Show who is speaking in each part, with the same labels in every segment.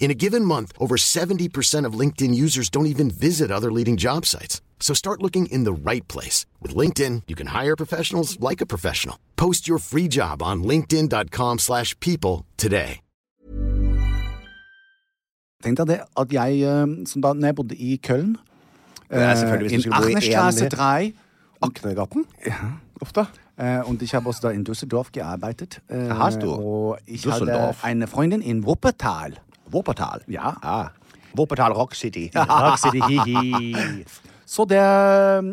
Speaker 1: In a given month, over 70% of LinkedIn users don't even visit other leading job sites. So start looking in the right place. With LinkedIn, you can hire professionals like a professional. Post your free job on linkedin.com slash people today.
Speaker 2: Tenk deg det at jeg, eh, som da når jeg bodde i Køln eh,
Speaker 3: Ja, selvfølgelig, hvis du
Speaker 2: In
Speaker 3: skulle bo i en
Speaker 2: Achnerstraße
Speaker 3: del.
Speaker 2: 3
Speaker 3: Aknegaten? Ja. Ofte.
Speaker 2: Äh, und ich habe also da in Düsseldorf gearbeitet. Äh,
Speaker 3: Hast du?
Speaker 2: Und ich hatte
Speaker 3: Düsseldorf.
Speaker 2: eine Freundin in Wuppertal.
Speaker 3: Wuppertal.
Speaker 2: Ja.
Speaker 3: Ah. Wuppertal Rock City.
Speaker 2: Rock City, Så det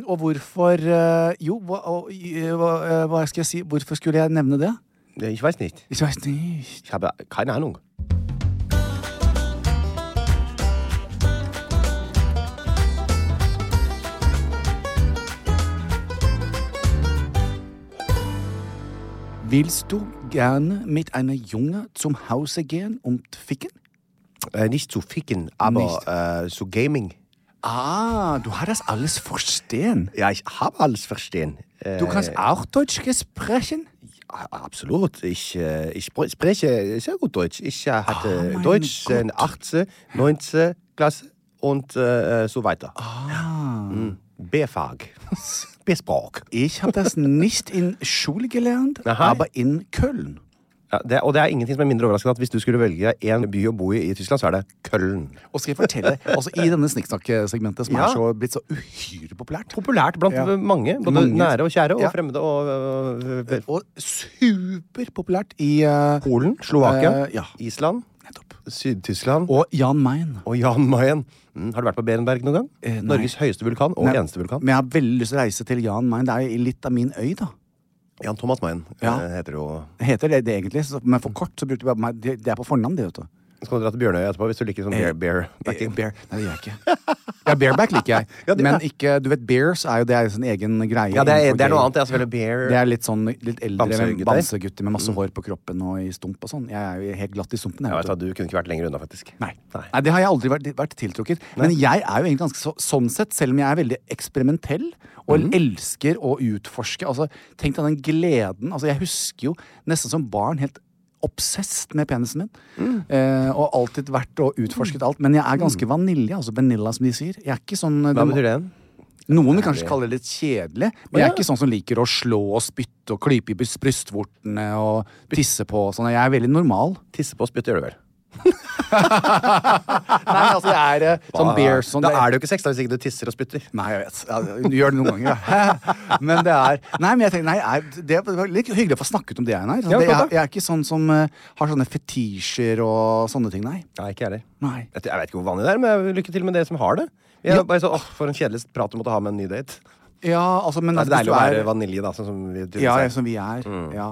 Speaker 2: Og hvorfor äh, Jo, hva, og, äh, hva, äh, hva skal jeg si? Hvorfor skulle jeg nevne det?
Speaker 3: Ja, Ich weiß nicht.
Speaker 2: Ich weiß nicht.
Speaker 3: Ich habe keine Ahnung.
Speaker 2: Willst du gerne mit einer Junge zum Hause gehen und ficken?
Speaker 3: Äh, nicht zu ficken, aber äh, zu Gaming.
Speaker 2: Ah, du hast das alles verstehen.
Speaker 3: Ja, ich habe alles verstehen. Äh,
Speaker 2: Du kannst auch Deutsch sprechen?
Speaker 3: a- absolut. Ich, äh, ich spr- spreche sehr gut Deutsch. Ich äh, hatte
Speaker 2: mein
Speaker 3: Deutsch
Speaker 2: Gott.
Speaker 3: in 18, 19 Klasse und äh, so weiter. Hm.
Speaker 2: Ah.
Speaker 3: BFAG. Besprach.
Speaker 2: Ich habe das nicht in Schule gelernt,
Speaker 3: Aha.
Speaker 2: aber in Köln.
Speaker 3: Ja, det, og det er ingenting som er mindre overraskende at hvis du skulle velge én by å bo i i Tyskland, så er det Køln.
Speaker 2: Og skal jeg fortelle, altså I denne snikksnakk-segmentet, som
Speaker 3: Ja.
Speaker 2: er så, blitt så uhyre populært
Speaker 3: Populært blant
Speaker 2: Ja.
Speaker 3: mange. Både
Speaker 2: Mange.
Speaker 3: nære og kjære og
Speaker 2: Ja.
Speaker 3: fremmede og øh, vel-
Speaker 2: Og superpopulært i eh,
Speaker 3: Polen, Slovakia,
Speaker 2: Eh, ja.
Speaker 3: Island,
Speaker 2: Nettopp.
Speaker 3: Syd-Tyskland
Speaker 2: Og
Speaker 3: og,
Speaker 2: Jan Mayen.
Speaker 3: Jan Mayen. Mm, har du vært på Berenberg noen gang?
Speaker 2: Eh, nei.
Speaker 3: Norges høyeste vulkan og
Speaker 2: Nei,
Speaker 3: eneste vulkan.
Speaker 2: Men jeg har veldig lyst til å reise til Jan Mayen. Det er jo litt av min øy, da.
Speaker 3: Jan Thomas Mayen
Speaker 2: Ja.
Speaker 3: eh, heter jo
Speaker 2: Heter det det egentlig? Så, men for kort så brukte vi bare meg. Det det er på fornavn, det, vet du.
Speaker 3: Så kan du dra til Bjørnøya etterpå hvis du liker sånn
Speaker 2: Eh,
Speaker 3: bear, bear backing.
Speaker 2: Eh, Bear. Nei, det gjør jeg ikke. Ja, Bareback liker jeg.
Speaker 3: Ja, det-
Speaker 2: men ikke Du vet, bears er jo det er jo sin egen greie.
Speaker 3: Ja, det er,
Speaker 2: innenfor
Speaker 3: det er noe
Speaker 2: gay.
Speaker 3: annet. Det er selvfølgelig bear
Speaker 2: Det er litt sånn litt eldre
Speaker 3: Bamsegutter.
Speaker 2: bamsegutter med masse hår på kroppen og i stump og sånn. Jeg er jo helt glatt i stumpen.
Speaker 3: Jeg
Speaker 2: Jeg,
Speaker 3: vet
Speaker 2: vet
Speaker 3: at Du kunne ikke vært lenger unna, faktisk.
Speaker 2: Nei.
Speaker 3: Nei.
Speaker 2: Nei, det har jeg aldri vært, vært tiltrukket. Men jeg er jo egentlig ganske så, sånn sett, selv om jeg er veldig eksperimentell og
Speaker 3: Mhm.
Speaker 2: elsker å utforske altså, Tenk deg den gleden. Altså, jeg husker jo nesten som barn helt obsesst med penisen min.
Speaker 3: Mm.
Speaker 2: Eh, og alltid vært og utforsket alt. Men jeg er ganske vanilje, altså vanilla, som de sier. Jeg er ikke sånn
Speaker 3: Hva betyr det?
Speaker 2: noen vil kanskje kalle det litt kjedelig, men jeg
Speaker 3: Ja.
Speaker 2: er ikke sånn som liker å slå og spytte og klype i bryst- brystvortene og tisse på og sånn. Jeg er veldig normal.
Speaker 3: Tisse på og spytte gjør du vel?
Speaker 2: Nei, altså det er eh, sånn bears sånn
Speaker 3: da er det jo ikke sex da hvis ikke du tisser og spytter.
Speaker 2: Nei, jeg vet. Ja, du gjør det noen ganger, ja. Men det er Nei, men jeg tenker, nei, er- det var litt hyggelig å få snakket om det, Einar.
Speaker 3: Ja,
Speaker 2: Sånn, det-
Speaker 3: klart
Speaker 2: jeg,
Speaker 3: det.
Speaker 2: jeg er ikke sånn som eh, har sånne fetisjer og sånne ting, nei.
Speaker 3: Nei, ikke jeg heller.
Speaker 2: Nei.
Speaker 3: Jeg, jeg vet ikke hvor vanlig det er, men lykke til med dere som har det. Jeg, er bare så, åh, For en kjedelig prat du måtte ha med en ny date.
Speaker 2: Ja, altså, men
Speaker 3: Det er
Speaker 2: hvis
Speaker 3: deilig
Speaker 2: du
Speaker 3: å være Mm.
Speaker 2: er-
Speaker 3: vanilje, da. Sånn som vi tydeligvis
Speaker 2: Ja,
Speaker 3: er.
Speaker 2: jeg, som vi er. Ja.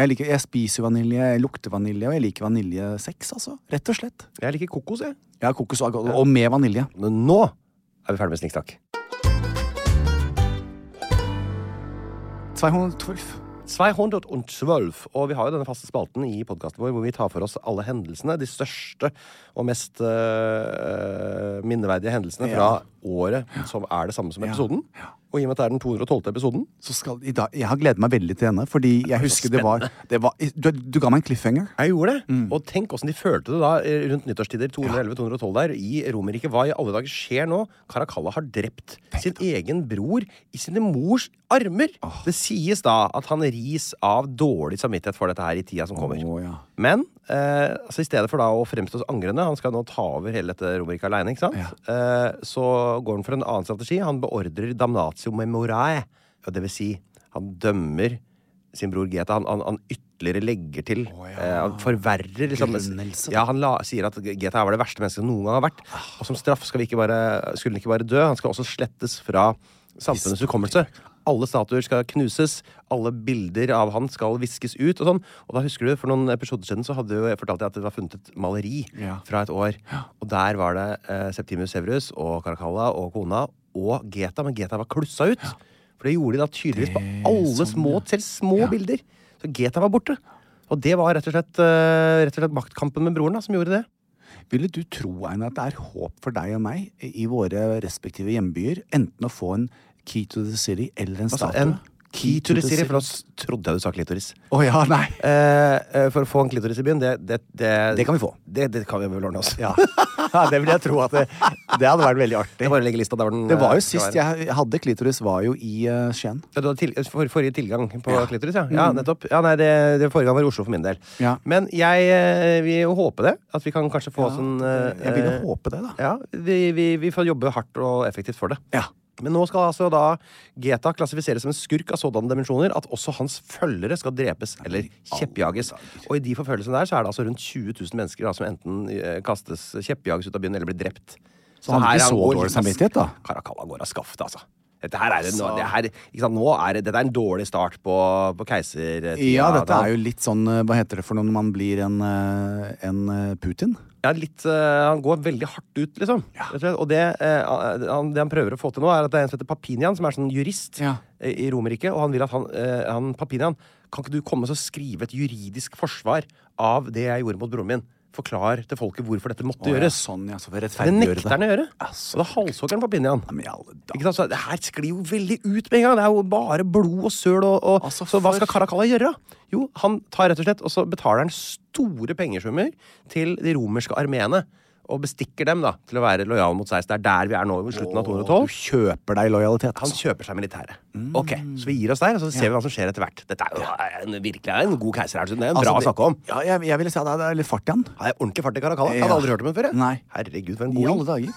Speaker 2: Jeg, liker, jeg spiser vanilje, jeg lukter vanilje, og jeg liker vaniljesex, altså. Rett og slett.
Speaker 3: jeg liker kokos, jeg.
Speaker 2: Ja, kokos og agave. Og med vanilje.
Speaker 3: Men nå er vi ferdig med snikksnakk.
Speaker 2: 212.
Speaker 3: 212. Og vi har jo denne faste spalten i podkasten vår hvor vi tar for oss alle hendelsene. De største og mest øh, minneverdige hendelsene fra
Speaker 2: Ja.
Speaker 3: året som er det samme som
Speaker 2: Ja.
Speaker 3: episoden. Og i og med at det er den 212. episoden
Speaker 2: Så skal, i dag, jeg har gledet meg veldig til denne, fordi jeg husker det var, det var du, du ga meg en cliffhanger.
Speaker 3: Jeg gjorde det.
Speaker 2: Mm.
Speaker 3: Og tenk åssen de følte det da eh, rundt nyttårstider 211-212 der i Romerike. Hva i alle dager skjer nå? Caracalla har drept sin egen bror i sine mors armer. Det sies da at han ris av dårlig samvittighet for dette her i tida som kommer.
Speaker 2: Å, ja.
Speaker 3: Men eh, altså i stedet for da å fremstå som angrende, han skal nå ta over hele dette Romerike aleine, ikke sant? Eh, så går han for en annen strategi. Han beordrer damnatio memorae. Og det vil si, han dømmer sin bror Geta. Han, han, han ytterligere legger til. eh, han forverrer liksom
Speaker 2: Begrunnelse.
Speaker 3: Ja, han la, sier at Geta var det verste mennesket som noen gang har vært. Og som straff skal vi ikke bare, skulle han ikke bare dø, han skal også slettes fra samfunnets hukommelse. Alle statuer skal knuses, alle bilder av han skal viskes ut. Og sånn. Og da husker du, For noen episoder siden så hadde jo, jeg fortalte jeg at det var funnet et maleri
Speaker 2: Ja.
Speaker 3: fra et år. Og der var det eh, Septimius Severus og Caracalla og kona og Geta, men Geta var klussa ut. For det gjorde de da tydeligvis på alle
Speaker 2: sånn,
Speaker 3: små, selv små bilder. Så Geta var borte. Og det var rett og slett, eh, rett og slett maktkampen med broren da, som gjorde det.
Speaker 2: Ville du tro, Einar, at det er håp for deg og meg i våre respektive hjembyer? Enten å få en Key to the City eller en
Speaker 3: Altså,
Speaker 2: statue?
Speaker 3: en klitoris-serie, for da s- trodde jeg du sa klitoris.
Speaker 2: Å ja, nei!
Speaker 3: Eh, eh, for å få en klitoris i byen, det Det, det,
Speaker 2: Det kan vi få.
Speaker 3: Det, det kan vi vel ordne oss.
Speaker 2: Ja. ja, det vil jeg tro at det, det hadde vært veldig artig.
Speaker 3: Jeg bare legger lista der hvor den
Speaker 2: Det var
Speaker 3: eh,
Speaker 2: jo
Speaker 3: skal
Speaker 2: sist
Speaker 3: være.
Speaker 2: jeg hadde klitoris, var jo i eh, Skien.
Speaker 3: Ja, Du hadde til, for, forrige tilgang på klitoris, ja. ja nettopp. Ja, nei, det, det forrige gang var i Oslo for min del.
Speaker 2: Mm. Ja.
Speaker 3: Men jeg eh, vil jo håpe det. At vi kan kanskje få oss en eh,
Speaker 2: Jeg ville
Speaker 3: eh,
Speaker 2: håpe det, da.
Speaker 3: Ja, vi, vi, vi får jobbe hardt og effektivt for det.
Speaker 2: Ja.
Speaker 3: Men nå skal altså da Geta klassifiseres som en skurk av sådanne dimensjoner at også hans følgere skal drepes eller kjeppjages. Og i de forfølgelsene der så er det altså rundt 20 000 mennesker da, som enten eh, kastes kjeppjages ut av byen eller blir drept.
Speaker 2: Så han hadde
Speaker 3: her
Speaker 2: ikke så
Speaker 3: går
Speaker 2: dårlig
Speaker 3: litt av-
Speaker 2: samvittighet, da.
Speaker 3: Caracalla går av skaftet, altså. Dette her er, det, nå, det her, ikke sant? Nå er det, dette er en dårlig start på, på keisertida.
Speaker 2: Ja, dette er jo litt sånn eh, Hva heter det for noe når man blir en, eh, en eh, Putin?
Speaker 3: ja, litt, eh, han går veldig hardt ut, liksom. Rett og slett. Og det, eh, han, det han prøver å få til nå, er at det er en som heter Papinian, som er sånn jurist
Speaker 2: Ja.
Speaker 3: eh, i Romerike, og han vil at han, eh, han Papinian Kan ikke du komme og så skrive et juridisk forsvar av det jeg gjorde mot broren min? Forklar til folket hvorfor dette måtte
Speaker 2: Å, ja,
Speaker 3: gjøres.
Speaker 2: sånn, ja, så for å
Speaker 3: Det
Speaker 2: rettferdiggjøre
Speaker 3: nekter han å gjøre.
Speaker 2: Ja, så
Speaker 3: Og da halshogger han Papinian.
Speaker 2: Ja, men i alle dager.
Speaker 3: Ikke sant? Så det her sklir jo veldig ut med en gang. Det er jo bare blod og søl. Og, og,
Speaker 2: Altså,
Speaker 3: så hva
Speaker 2: for-
Speaker 3: skal Caracalla gjøre? Jo, han tar rett og slett, og så betaler han store pengesummer til de romerske armeene. Og bestikker dem da, til å være lojale mot seg. Så det er der vi er nå, ved slutten av
Speaker 2: Du
Speaker 3: 212.
Speaker 2: kjøper deg lojalitet.
Speaker 3: Han
Speaker 2: altså.
Speaker 3: kjøper seg militæret. Ok, Så vi gir oss der, og så ser vi hva som skjer etter hvert. Dette er jo en, virkelig en god keiser her. så Det er en bra
Speaker 2: Altså,
Speaker 3: å snakke om.
Speaker 2: Ja, jeg, jeg ville si at det er litt fart i han.
Speaker 3: Han er ordentlig fart i Caracalla. Jeg
Speaker 2: Ja.
Speaker 3: hadde aldri hørt om ham før. jeg.
Speaker 2: Nei.
Speaker 3: Herregud, for en
Speaker 2: I
Speaker 3: god
Speaker 2: alle dager.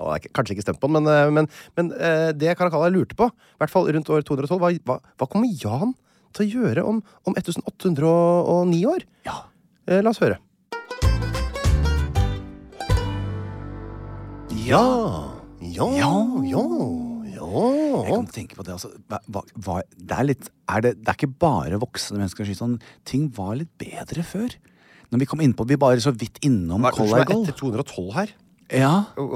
Speaker 3: Han er ikke- kanskje ikke stemt på den, men, eh, men, men eh, det Caracalla lurte på, i hvert fall rundt år 212, var hva, hva kommer Jan til å gjøre om, om 1809 år?
Speaker 2: Ja.
Speaker 3: Eh, la oss høre. Ja, ja, ja,
Speaker 2: Jeg
Speaker 3: ja.
Speaker 2: kan tenke på det, altså. Hva, hva, hva- det, er litt, er det, det er ikke bare voksne mennesker som sier sånn Ting var litt bedre før. Når vi kom innpå Vi bare så vidt innom
Speaker 3: Hva er det som
Speaker 2: Color
Speaker 3: er etter
Speaker 2: Gold.
Speaker 3: 212 her?
Speaker 2: Ja.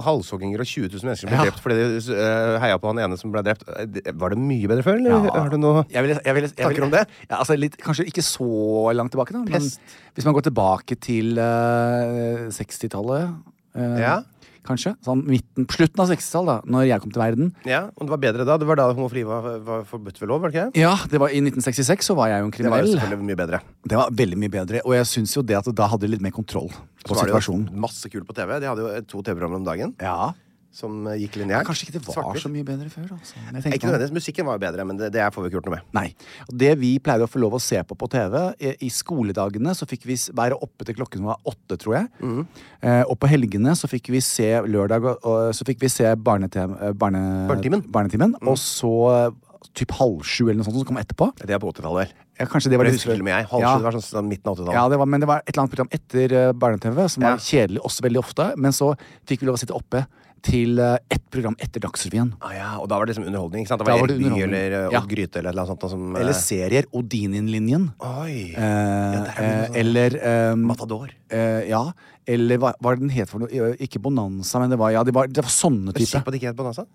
Speaker 3: Halshogginger og 20 000 mennesker som ble
Speaker 2: Ja.
Speaker 3: drept fordi de eh, heia på han ene som ble drept. Eh, det- Var det mye bedre før, eller?
Speaker 2: Ja.
Speaker 3: Har du noe
Speaker 2: Jeg ville, jeg ville, jeg
Speaker 3: Tanker
Speaker 2: ville-
Speaker 3: om det?
Speaker 2: Ja, altså litt, kanskje ikke så langt tilbake, da. Men
Speaker 3: Pest.
Speaker 2: hvis man går tilbake til eh, 60-tallet, eh,
Speaker 3: Ja.
Speaker 2: kanskje. Sånn midten, slutten av 60-tallet, da når jeg kom til verden.
Speaker 3: Ja, og det var bedre da? Det var da homofili var, var forbudt ved lov, var det ikke?
Speaker 2: Ja, det var I 1966 så var jeg jo en
Speaker 3: Det var jo
Speaker 2: kriminell.
Speaker 3: selvfølgelig mye bedre.
Speaker 2: Det var veldig mye bedre, og jeg syns jo det at da hadde jeg litt mer kontroll på
Speaker 3: Så var det jo
Speaker 2: situasjonen.
Speaker 3: masse kult på TV. De hadde jo eh, to TV-programmer om dagen
Speaker 2: Ja.
Speaker 3: som eh, gikk linjært.
Speaker 2: Kanskje ikke det var
Speaker 3: Svart-hvitt.
Speaker 2: så mye bedre før, altså. men jeg
Speaker 3: Nei,
Speaker 2: tenker
Speaker 3: Ikke
Speaker 2: på-
Speaker 3: nødvendigvis. Musikken var jo bedre, men det, det får vi ikke gjort noe med.
Speaker 2: Nei. Og Det vi pleide å få lov å se på på TV eh, I skoledagene så fikk vi s- være oppe til klokken var åtte, tror jeg.
Speaker 3: Mhm.
Speaker 2: Eh, og på helgene så fikk vi se lørdag og, og så fikk vi se barnete- eh, barne,
Speaker 3: Barnetimen. Mhm.
Speaker 2: barnetimen, Og så eh, typ halv sju eller noe sånt som kom etterpå.
Speaker 3: Det er på 80-tallet, vel.
Speaker 2: Ja, kanskje det var
Speaker 3: Det
Speaker 2: det
Speaker 3: husker til og med jeg. Halv sju,
Speaker 2: Ja.
Speaker 3: det var sånn, sånn midten av 80-tallet.
Speaker 2: Ja, det var, men det var et eller annet program etter eh, barne-TV som
Speaker 3: Ja.
Speaker 2: var kjedelig også veldig ofte. Men så fikk vi lov å sitte oppe til eh, ett program etter Dagsrevyen.
Speaker 3: Ah, ja, og da var det liksom underholdning. ikke sant? Det
Speaker 2: Da
Speaker 3: var,
Speaker 2: var
Speaker 3: Erik
Speaker 2: det
Speaker 3: Bye
Speaker 2: underholdning.
Speaker 3: eller eh,
Speaker 2: Ja.
Speaker 3: Odd Gryte eller et eller annet sånt. da, Som, eh,
Speaker 2: Eller serier. Odin-linjen.
Speaker 3: Oi!
Speaker 2: Eh,
Speaker 3: der er det noe
Speaker 2: eh,
Speaker 3: sånn.
Speaker 2: eller eh,
Speaker 3: Matador.
Speaker 2: eh, Ja. Eller hva var det den het for noe? Eh, Ikke Bonanza, men det var, ja, det var, det var sånne
Speaker 3: Sikker
Speaker 2: type.
Speaker 3: på at det ikke het Bonanza?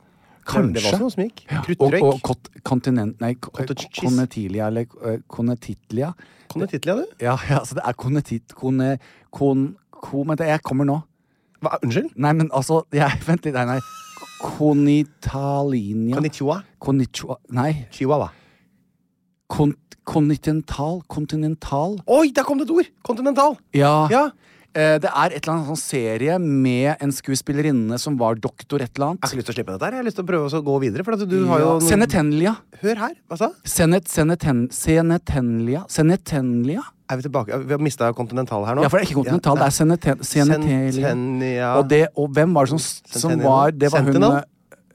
Speaker 2: Kanskje.
Speaker 3: Det var også noe som gikk.
Speaker 2: Ja,
Speaker 3: Kruttrøyk.
Speaker 2: Og, og kot, kontinent... Nei, ko-
Speaker 3: Cottage cheese.
Speaker 2: Konetilia eller eh, Konetitlia.
Speaker 3: Kom det titlet, du?
Speaker 2: Ja, ja, altså det er Konetit... Kone... Kon... Ko... Men det, jeg kommer nå.
Speaker 3: Hva, unnskyld?
Speaker 2: Nei, men altså jeg, Vent litt, nei, nei. Konitalinia
Speaker 3: Konnichiwa.
Speaker 2: Konnichiwa Nei.
Speaker 3: Chihuahua.
Speaker 2: Kon kontinental Kontinental.
Speaker 3: Oi, der kom det et ord! Kontinental.
Speaker 2: Ja.
Speaker 3: Ja.
Speaker 2: Eh, det er et eller annet sånn serie med en skuespillerinne som var doktor et eller
Speaker 3: Jeg har
Speaker 2: annet.
Speaker 3: ikke lyst til å slippe dette her. Jeg har lyst til å prøve å gå videre. For at du har jo
Speaker 2: Ja.
Speaker 3: noen...
Speaker 2: Senetenlia.
Speaker 3: Hør her. Hva sa jeg?
Speaker 2: Senet, seneten, senetenlia Senetenlia?
Speaker 3: Er vi tilbake? Vi har mista kontinental her nå.
Speaker 2: Ja, for det er ikke kontinental, det er seneten, senetelia.
Speaker 3: Sentennia-
Speaker 2: Og, det, og hvem var det som, som
Speaker 3: Sentinel.
Speaker 2: var Det var hun eh,
Speaker 3: Sentinel?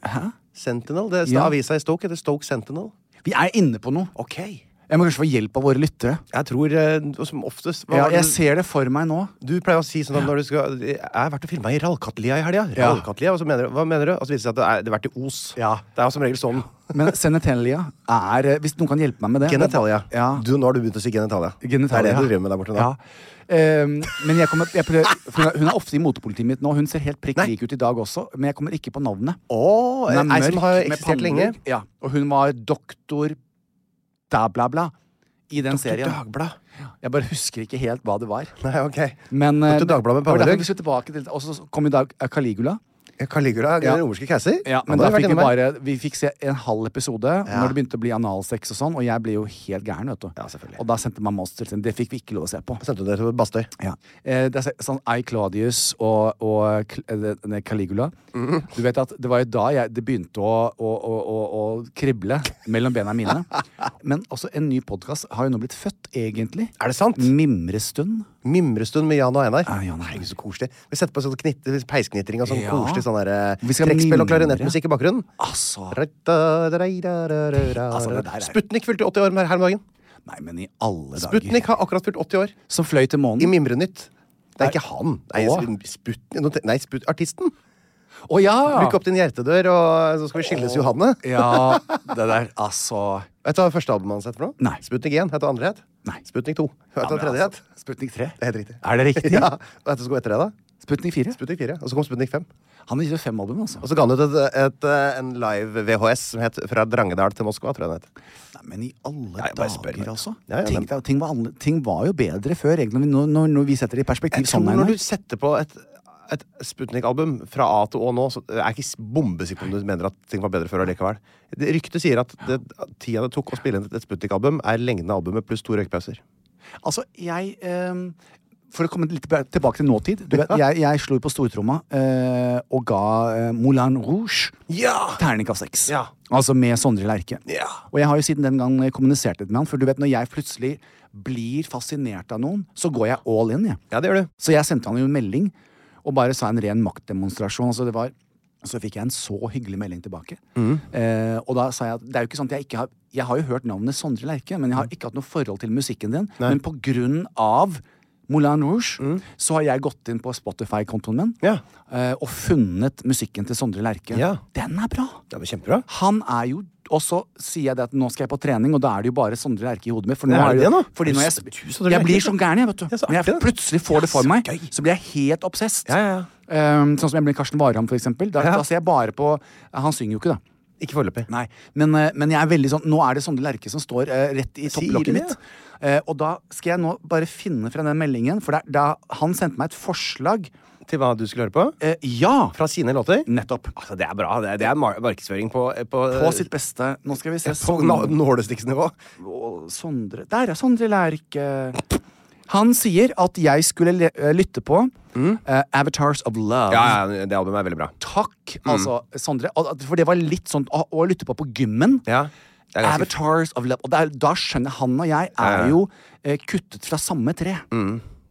Speaker 2: Hæ?
Speaker 3: Sentinel. Det er
Speaker 2: Ja.
Speaker 3: avisa i Stoke heter Stoke Sentinel.
Speaker 2: Vi er inne på noe.
Speaker 3: Ok. Jeg
Speaker 2: Jeg må kanskje få hjelp av våre lyttere.
Speaker 3: tror eh, som oftest hva
Speaker 2: Ja,
Speaker 3: var det
Speaker 2: jeg
Speaker 3: du-
Speaker 2: ser det for meg nå.
Speaker 3: Du pleier å si sånn at når du skal Jeg har vært og filma i Rallkattlia i helga.
Speaker 2: Ja.
Speaker 3: Rallkattlia, og så mener du, Hva mener du? Og så viser det seg at det er- det har vært i Os.
Speaker 2: Ja.
Speaker 3: Det er jo som regel sånn.
Speaker 2: Men senetenlia er eh, Hvis noen kan hjelpe meg med det
Speaker 3: Genitalia.
Speaker 2: Ja.
Speaker 3: Du, nå har du begynt å si genitalia.
Speaker 2: Genitalia.
Speaker 3: Det er det du driver med der borte nå.
Speaker 2: Ja. Ehm, men jeg kommer, jeg prøver, for hun er- hun er ofte i motepolitiet mitt nå. Hun ser helt prikk
Speaker 3: Nei.
Speaker 2: lik ut i dag også, men jeg kommer ikke på navnet.
Speaker 3: Å,
Speaker 2: Hun
Speaker 3: ei som har
Speaker 2: med
Speaker 3: eksistert
Speaker 2: pannelugg.
Speaker 3: lenge.
Speaker 2: Ja, og hun var doktor da bla bla i den
Speaker 3: Til
Speaker 2: serien.
Speaker 3: Dagblad.
Speaker 2: Jeg bare husker ikke helt hva det var.
Speaker 3: Nei, ok.
Speaker 2: Men eh,
Speaker 3: Doktor Dagblad med
Speaker 2: det var derfor
Speaker 3: pannelugg.
Speaker 2: vi skulle tilbake til Og så kom i dag eh, Caligula.
Speaker 3: Caligula,
Speaker 2: Ja.
Speaker 3: den romerske keiser.
Speaker 2: Ja, men
Speaker 3: Han
Speaker 2: da
Speaker 3: har vært
Speaker 2: fikk vi
Speaker 3: innom her.
Speaker 2: bare Vi fikk se en halv episode når det begynte å bli analsex og sånn, og jeg ble jo helt gæren, vet du.
Speaker 3: Ja, selvfølgelig.
Speaker 2: og da sendte man monster til Det fikk vi ikke lov å se på.
Speaker 3: Sendte du det til Bastøy?
Speaker 2: Ja. Eh, det er se- sånn I. Claudius og, og Cl- eh, det- det- Caligula.
Speaker 3: Mhm.
Speaker 2: Du vet at Det var jo da jeg, det begynte å, å, å, å, å krible mellom bena mine. Men også en ny podkast har jo nå blitt født, egentlig.
Speaker 3: Er det sant?
Speaker 2: Mimrestund.
Speaker 3: Mimrestund med Jan og Einar.
Speaker 2: Ja, Jan og Einar.
Speaker 3: Herregud, så koselig. Vi setter på sånn knitt, peisknitring og sånn
Speaker 2: Ja.
Speaker 3: koselig sånn der, eh,
Speaker 2: Vi skal
Speaker 3: trekkspill og
Speaker 2: mimre.
Speaker 3: klarinettmusikk i bakgrunnen.
Speaker 2: Altså Altså, det der er-
Speaker 3: Altså, Sputnik fylte 80 år her om dagen.
Speaker 2: Nei, men i alle dager.
Speaker 3: Sputnik har akkurat fylt 80 år.
Speaker 2: Som fløy til
Speaker 3: I
Speaker 2: månen.
Speaker 3: Mimrenytt. Det er ikke han. Nei,
Speaker 2: Å.
Speaker 3: Sputnik Nå te- Nei, Sput... Artisten.
Speaker 2: Å ja!
Speaker 3: Bruk opp din hjertedør, og eh, så skal vi skilles, Johanne.
Speaker 2: Ja, det der, altså
Speaker 3: Vet du hva første albumet hans het for noe?
Speaker 2: Nei.
Speaker 3: Sputnik 1. Vet du hva andre het?
Speaker 2: Nei.
Speaker 3: Sputnik 2. Vet du hva
Speaker 2: men
Speaker 3: tredje het?
Speaker 2: altså, Sputnik 3.
Speaker 3: Det er helt riktig.
Speaker 2: Er det riktig?
Speaker 3: Ja. Vet du hva som kom etter det, da?
Speaker 2: Sputnik 4.
Speaker 3: Sputnik 4. Og så kom Sputnik 5.
Speaker 2: Han har gitt ut fem album, altså.
Speaker 3: Og så ga han ut et, et, eh, en live VHS som het Fra Drangedal til Moskva, tror jeg den het.
Speaker 2: Nei, men i alle
Speaker 3: jeg bare
Speaker 2: dager,
Speaker 3: spør, vet du.
Speaker 2: altså.
Speaker 3: Ja, ja,
Speaker 2: ting,
Speaker 3: men-
Speaker 2: da- ting, var annerle- ting var jo bedre før, egentlig, når, når, når vi setter det i perspektiv.
Speaker 3: Jeg tror
Speaker 2: sånn,
Speaker 3: når
Speaker 2: Einar.
Speaker 3: du setter på et, et Sputnik-album fra A til Å nå, så er jeg ikke s- bombesikker på om du mener at ting var bedre før allikevel. Det- Ryktet sier at det, at tida det tok å spille inn et Sputnik-album, er lengden av albumet pluss to røykpauser.
Speaker 2: Altså, jeg ehm, For å komme litt ba- tilbake til nåtid. Du vet, jeg, jeg slo på stortromma eh, og ga eh, Moulin Rouge
Speaker 3: Ja!
Speaker 2: terningkast seks.
Speaker 3: Ja.
Speaker 2: Altså med Sondre Lerche.
Speaker 3: Ja.
Speaker 2: Og jeg har jo siden den gang kommunisert litt med han, for du vet, når jeg plutselig blir fascinert av noen, så går jeg all in, jeg.
Speaker 3: Ja, det gjør du.
Speaker 2: Så jeg sendte han jo en melding og bare sa en ren maktdemonstrasjon. Altså det var, så fikk jeg en så hyggelig melding tilbake.
Speaker 3: Mm.
Speaker 2: Eh, og da sa jeg at det er jo ikke sant, jeg, ikke har, jeg har jo hørt navnet Sondre Lerche, men jeg
Speaker 3: Mm.
Speaker 2: har ikke hatt noe forhold til musikken din. Men på grunn av Moulin Rouge så har jeg gått inn på Spotify-kontoen min
Speaker 3: Mm. Ja.
Speaker 2: eh, og funnet musikken til Sondre Lerche.
Speaker 3: Ja.
Speaker 2: Den er bra!
Speaker 3: Det er kjempebra.
Speaker 2: Han er jo Og så sier jeg det at nå skal jeg på trening, og da er det jo bare Sondre Lerche i hodet mitt. For nå
Speaker 3: Er
Speaker 2: er
Speaker 3: det
Speaker 2: det jo,
Speaker 3: det nå?
Speaker 2: fordi når jeg,
Speaker 3: Du,
Speaker 2: sp-
Speaker 3: Sondre
Speaker 2: jeg
Speaker 3: Lerche.
Speaker 2: blir sånn gæren, jeg, vet
Speaker 3: Ja,
Speaker 2: du.
Speaker 3: så
Speaker 2: Når jeg
Speaker 3: artig, det.
Speaker 2: plutselig får det for
Speaker 3: Ja, så
Speaker 2: meg,
Speaker 3: gøy.
Speaker 2: så blir jeg helt obsessed.
Speaker 3: Ja, ja, ja.
Speaker 2: Ehm, sånn som jeg ble Karsten Warholm, for eksempel. Da,
Speaker 3: Ja.
Speaker 2: da ser jeg bare på Han synger jo ikke, da.
Speaker 3: Ikke foreløpig.
Speaker 2: Nei, men, eh, men jeg er veldig sånn Nå er det Sondre Lerche som står eh, rett i
Speaker 3: Sier
Speaker 2: topplokket
Speaker 3: det,
Speaker 2: mitt. Eh, og da skal jeg nå bare finne fra den meldingen, for det er da han sendte meg et forslag
Speaker 3: Til hva du skulle høre på?
Speaker 2: eh, Ja!
Speaker 3: Fra sine låter?
Speaker 2: Nettopp.
Speaker 3: Altså, det er bra. Det er, det er mar- markedsføring på eh, På, eh,
Speaker 2: På sitt beste. Nå skal vi se
Speaker 3: på nå- nålestiksnivå.
Speaker 2: Å, Sondre Der er Sondre Lerche. Han sier at jeg skulle le eh, lytte på eh, Avatars of Love.
Speaker 3: Mm. Ja, Mm. ja, det albumet er veldig bra.
Speaker 2: Takk, altså, Sondre. Og- For det var litt sånn å, å lytte på på gymmen.
Speaker 3: Ja, det er ganske-
Speaker 2: Avatars of Love. Og der, da skjønner jeg han og jeg er
Speaker 3: ja. Mm.
Speaker 2: jo eh, kuttet fra samme tre.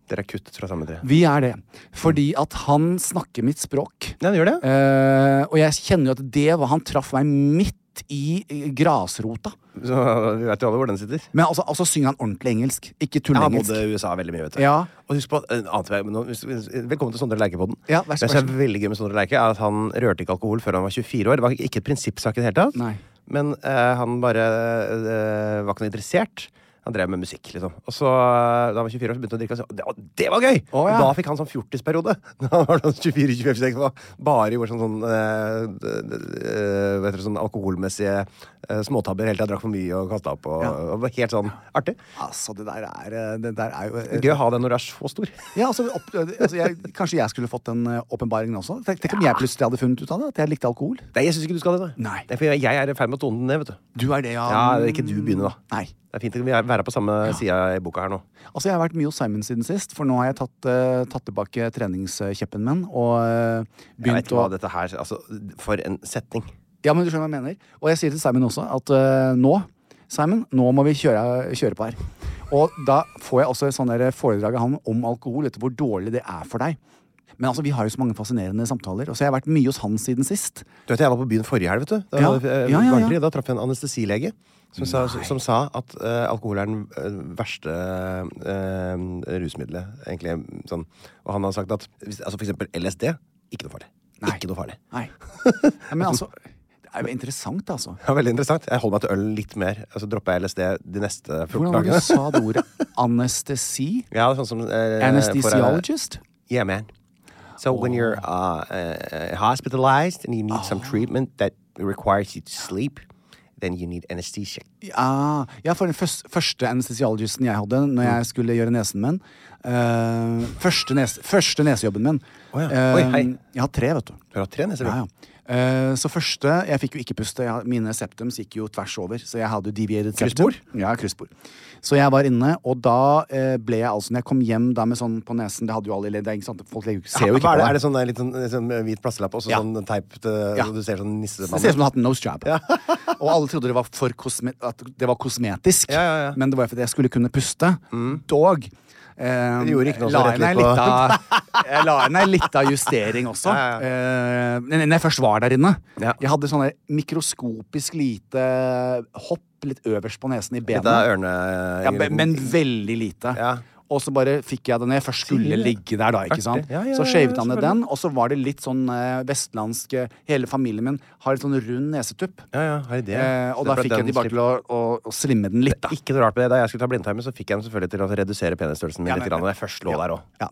Speaker 3: Dere er kuttet fra samme tre.
Speaker 2: Vi er det. Fordi at han snakker mitt språk.
Speaker 3: Ja, det gjør det.
Speaker 2: Eh, og jeg kjenner jo at det var Han traff meg midt i eh, grasrota.
Speaker 3: Så vi vet jo alle hvor den sitter.
Speaker 2: Men altså, altså synger han ordentlig engelsk. Ikke
Speaker 3: Jeg har bodd
Speaker 2: tulleengelsk.
Speaker 3: i USA veldig mye, vet du.
Speaker 2: Ja.
Speaker 3: Og husk på, en annen vei, men nå- hvis- hvis- Velkommen til Sondre Leikepodden.
Speaker 2: Ja, vær så
Speaker 3: det som
Speaker 2: god.
Speaker 3: er veldig gøy med Sondre Leike, er at han rørte ikke alkohol før han var 24 år. Det var ikke et prinsippsak i det hele tatt.
Speaker 2: Nei.
Speaker 3: Men eh, han bare eh, var ikke noe interessert. Han drev med musikk, liksom. Og så, da han var 24 år, så begynte han å drikke. Og så, det, og det var gøy!
Speaker 2: Å, ja.
Speaker 3: Da fikk han sånn 40-periode. Da var han sånn 24-26 og bare gjorde sånn, sånn, eh, d- d- eh, vet dere, sånn alkoholmessige eh, småtabber hele tida. Drakk for mye og kasta opp. Og, og var helt sånn artig.
Speaker 2: Altså, det der er, eh, det der er jo
Speaker 3: Gøy å ha det når du er så stor.
Speaker 2: Ja, altså, opp, altså jeg, Kanskje jeg skulle fått den eh, åpenbaringen også? Tenk, tenk om jeg plutselig hadde funnet ut av det? At jeg likte alkohol?
Speaker 3: Nei, jeg syns ikke du skal det. da.
Speaker 2: Nei.
Speaker 3: Det er fordi jeg er i ferd med å tone den ned, vet du.
Speaker 2: Du er det, ja.
Speaker 3: Ja, ikke du begynner, da.
Speaker 2: Nei.
Speaker 3: Det er fint å være på samme side i boka her nå.
Speaker 2: Altså, Jeg har vært mye hos Simon siden sist, for nå har jeg tatt, eh, tatt tilbake treningskjeppen min. Og eh,
Speaker 3: Jeg vet
Speaker 2: begynt
Speaker 3: ikke hva
Speaker 2: å
Speaker 3: dette her Altså, for en setning.
Speaker 2: Ja, men du skjønner hva jeg mener. Og jeg sier til Simon også at eh, nå, Simon, nå må vi kjøre, kjøre på her. Og da får jeg også et sånt der foredrag av han om alkohol, etter hvor dårlig det er for deg. Men altså, vi har jo så mange fascinerende samtaler, og så jeg har vært mye hos han siden sist.
Speaker 3: Du vet, Jeg var på byen forrige helg. vet du Da,
Speaker 2: Ja.
Speaker 3: eh,
Speaker 2: Ja, ja, ja.
Speaker 3: Garderli, da traff jeg en anestesilege som, sa, som sa at eh, alkohol er den eh, verste eh, rusmiddelet. Egentlig, sånn. Og han har sagt at hvis, altså, for eksempel LSD ikke noe farlig.
Speaker 2: Nei.
Speaker 3: Ikke noe farlig.
Speaker 2: Nei. Nei, Men altså, det er jo interessant, altså.
Speaker 3: Ja, veldig interessant. Jeg holder meg til øl litt mer. Og så dropper jeg LSD de neste 14
Speaker 2: Hvordan var det
Speaker 3: dagene.
Speaker 2: du sa det ordet? Anestesi?
Speaker 3: Ja, sånn som, eh, for, eh,
Speaker 2: Anesthesiologist?
Speaker 3: Yeah, man. So when you're uh, uh, hospitalized and you need some treatment that requires you to sleep, then you need anesthesia.
Speaker 2: Ja, Ah, ja, for den først, første anestesiologisten jeg hadde når
Speaker 3: Mm.
Speaker 2: jeg skulle gjøre nesen min eh, første, nes, første nesejobben min.
Speaker 3: Å ja. Oi,
Speaker 2: eh,
Speaker 3: hei.
Speaker 2: jeg har tre, vet du.
Speaker 3: Du har hatt tre neser, du.
Speaker 2: Ja, ja. Eh, så første Jeg fikk jo ikke puste. Jeg, mine septums gikk jo tvers over. Så jeg hadde jo deviated septum.
Speaker 3: Kryssbord?
Speaker 2: Ja, kryssbord. Så jeg var inne, og da eh, ble jeg altså Når jeg kom hjem da med sånn på nesen Det hadde jo alle det er ikke sant? Folk legger jo ikke- ser jo ikke
Speaker 3: Hva er, det,
Speaker 2: på
Speaker 3: er
Speaker 2: deg.
Speaker 3: det sånn der, litt sånn, sånn hvit plastelapp og så
Speaker 2: Ja.
Speaker 3: sånn teip til-
Speaker 2: Ja.
Speaker 3: så du ser sånn
Speaker 2: Det ser ut
Speaker 3: nissemann?
Speaker 2: som du har hatt en nose job. og alle trodde det var for kosme at det var kosmetisk.
Speaker 3: Ja, ja, ja.
Speaker 2: Men det var fordi jeg skulle kunne puste. Dog. eh,
Speaker 3: Det gjorde ikke noe så
Speaker 2: la
Speaker 3: rett
Speaker 2: inn ei
Speaker 3: litt på-
Speaker 2: lita- Jeg la inn ei lita justering også.
Speaker 3: Ja, ja.
Speaker 2: Eh, men når jeg først var der inne.
Speaker 3: Ja.
Speaker 2: Jeg hadde sånne mikroskopisk lite hopp litt øverst på nesen i
Speaker 3: Litt
Speaker 2: benet.
Speaker 3: av ørne...
Speaker 2: Ja, men, men veldig lite.
Speaker 3: Ja.
Speaker 2: Og så bare fikk jeg det når jeg først skulle ligge der, da. ikke sant?
Speaker 3: Artig. Ja, ja,
Speaker 2: så
Speaker 3: ja,
Speaker 2: shavet
Speaker 3: ja,
Speaker 2: han ned den, og så var det litt sånn eh, vestlandsk eh, Hele familien min har litt sånn rund nesetupp.
Speaker 3: Ja, ja, har idé.
Speaker 2: Eh, og da fikk jeg de bare til å, å, å slimme den litt, da.
Speaker 3: Ikke noe rart med det. Da jeg skulle ta blindtarmen, så fikk jeg den selvfølgelig til å redusere penisstørrelsen min
Speaker 2: Ja,
Speaker 3: litt.
Speaker 2: men-
Speaker 3: Grann, når jeg først lå der også.
Speaker 2: Ja.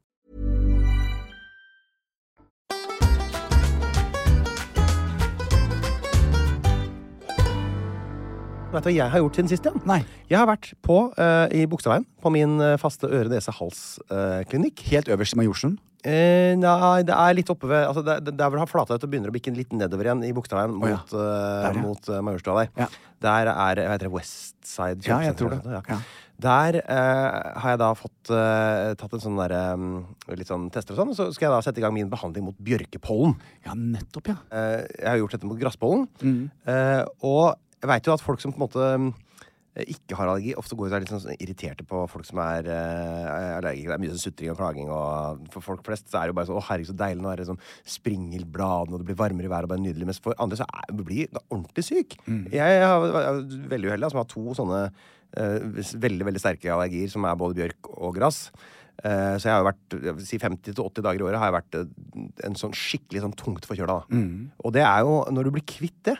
Speaker 3: Vet du hva jeg har gjort siden sist, Jan?
Speaker 2: Nei.
Speaker 3: Jeg har vært på, eh, i Bogstadveien, på min eh, faste eh, øre-nese-hals-klinikk.
Speaker 2: Helt øverst i Majorstuen.
Speaker 3: Eh, nei, det er litt oppe ved altså det, det, Der hvor det har flata ut og begynner å bikke litt nedover igjen i Buktaveien
Speaker 2: Å ja.
Speaker 3: mot, eh,
Speaker 2: Der, ja.
Speaker 3: mot eh, Majorstua der.
Speaker 2: Ja.
Speaker 3: Der er hva heter det, Westside
Speaker 2: Ja, jeg tror det. Ja.
Speaker 3: Der eh, har jeg da fått eh, tatt en sånn der, eh, litt sånn tester og sånn. og Så skal jeg da sette i gang min behandling mot bjørkepollen.
Speaker 2: Ja, nettopp, ja.
Speaker 3: Eh, jeg har gjort dette mot gresspollen. Eh, og jeg veit jo at folk som på en måte eh, ikke har allergi, ofte går de og er litt sånn irriterte på folk som er eh, allergikere. Det er mye sånn sutring og klaging, og for folk flest så er det jo bare sånn 'Å, herregud, så deilig, nå er det sånn springer bladene, og det blir varmere i været, og bare nydelig'. Mens for andre så er, blir de ordentlig syk. Jeg har- er veldig uheldig, som har to sånne eh, veldig, veldig sterke allergier, som er både bjørk og gress. Eh, Så jeg har jo vært jeg vil si 50-80 dager i året har jeg vært eh, en sånn skikkelig sånn tungt forkjøla. da.
Speaker 2: Mm.
Speaker 3: Og det er jo når du blir kvitt det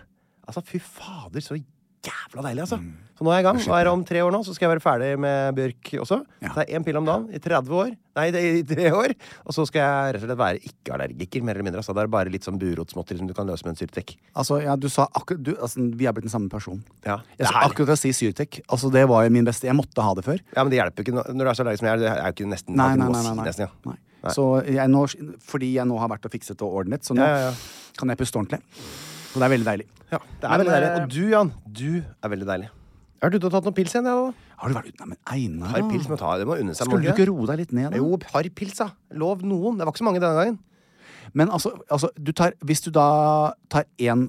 Speaker 3: Altså, fy fader, så jævla deilig, altså.
Speaker 2: Mm.
Speaker 3: Så nå er jeg i gang. Nå er det om tre år nå, så skal jeg være ferdig med Bjørk også.
Speaker 2: Ja.
Speaker 3: Ta én pille om dagen i 30 år. Nei, det er i tre år. Og så skal jeg rett og slett være ikke-allergiker, mer eller mindre. Altså, det er bare litt sånn burotsmåtteri som du kan løse med en syltek.
Speaker 2: Altså, ja, du sa akkurat du, altså, Vi er blitt den samme person.
Speaker 3: Ja.
Speaker 2: Jeg
Speaker 3: Det
Speaker 2: sa
Speaker 3: er-
Speaker 2: akkurat å si Syrtec. Altså, det var jo min beste. Jeg måtte ha det før.
Speaker 3: Ja, men det hjelper jo ikke når- når du er så allergisk som jeg er. Det er jo ikke nesten,
Speaker 2: Nei,
Speaker 3: har ikke
Speaker 2: nei,
Speaker 3: noe
Speaker 2: nei.
Speaker 3: å
Speaker 2: nei,
Speaker 3: si
Speaker 2: nei.
Speaker 3: nesten, ja.
Speaker 2: nei. Så jeg nå, fordi jeg nå har vært og fikset og ordnet, så nå
Speaker 3: Ja, ja, ja.
Speaker 2: kan jeg puste ordentlig. Så det er veldig deilig.
Speaker 3: Ja, det er
Speaker 2: Men,
Speaker 3: veldig deilig.
Speaker 2: eh,
Speaker 3: Og du, Jan, du er veldig deilig. Jeg har vært ute og tatt noen pils igjen, jeg òg.
Speaker 2: Har du vært ute? Nei, men Einar
Speaker 3: Har pils må ta, det må unne seg. må
Speaker 2: Skulle du ikke roe deg litt ned?
Speaker 3: det?
Speaker 2: da?
Speaker 3: Jo, har pils, da. Lov noen. Det var ikke så mange denne gangen.
Speaker 2: Men altså, altså du tar, hvis du da tar én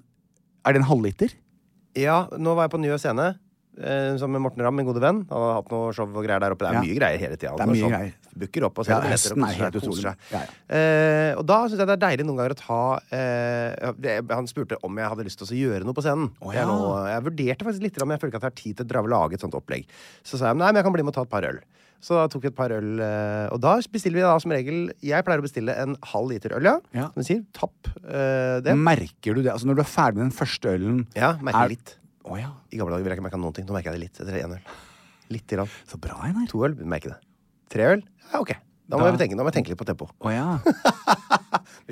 Speaker 2: Er det en halvliter?
Speaker 3: Ja, nå var jeg på Njø scene eh, sammen med Morten Ramm, min gode venn. Han har hatt noe show og greier der oppe. Det er
Speaker 2: Ja.
Speaker 3: mye greier hele tida.
Speaker 2: Det er mye greier.
Speaker 3: Booker opp
Speaker 2: Ja,
Speaker 3: og selger billetter.
Speaker 2: høsten
Speaker 3: og
Speaker 2: er helt
Speaker 3: koser
Speaker 2: utrolig.
Speaker 3: seg.
Speaker 2: Ja, ja.
Speaker 3: Eh, og da syns jeg det er deilig noen ganger å ta eh, ja, det- Han spurte om jeg hadde lyst til å gjøre noe på scenen.
Speaker 2: Å,
Speaker 3: jeg,
Speaker 2: ja.
Speaker 3: nå, jeg vurderte faktisk litt, men jeg føler ikke at jeg har tid til å dra og lage et sånt opplegg. Så sa jeg nei, men jeg kan bli med og ta et par øl. Så da tok vi et par øl, eh, og da bestiller vi da som regel Jeg pleier å bestille en halv liter øl, ja.
Speaker 2: Ja.
Speaker 3: Som du sier. Tapp eh, det.
Speaker 2: Merker du det? Altså Når du er ferdig med den første ølen
Speaker 3: Ja, merker
Speaker 2: er-
Speaker 3: litt.
Speaker 2: Å ja.
Speaker 3: I gamle dager ville jeg ikke merka noen ting. Nå merker jeg det litt etter én øl. Litt grann.
Speaker 2: Så bra, Einar.
Speaker 3: To øl, merker det. Tre øl? Ja, ok. Da må,
Speaker 2: Da-
Speaker 3: Jeg, tenke, da må jeg tenke litt på tempo.
Speaker 2: Å ja.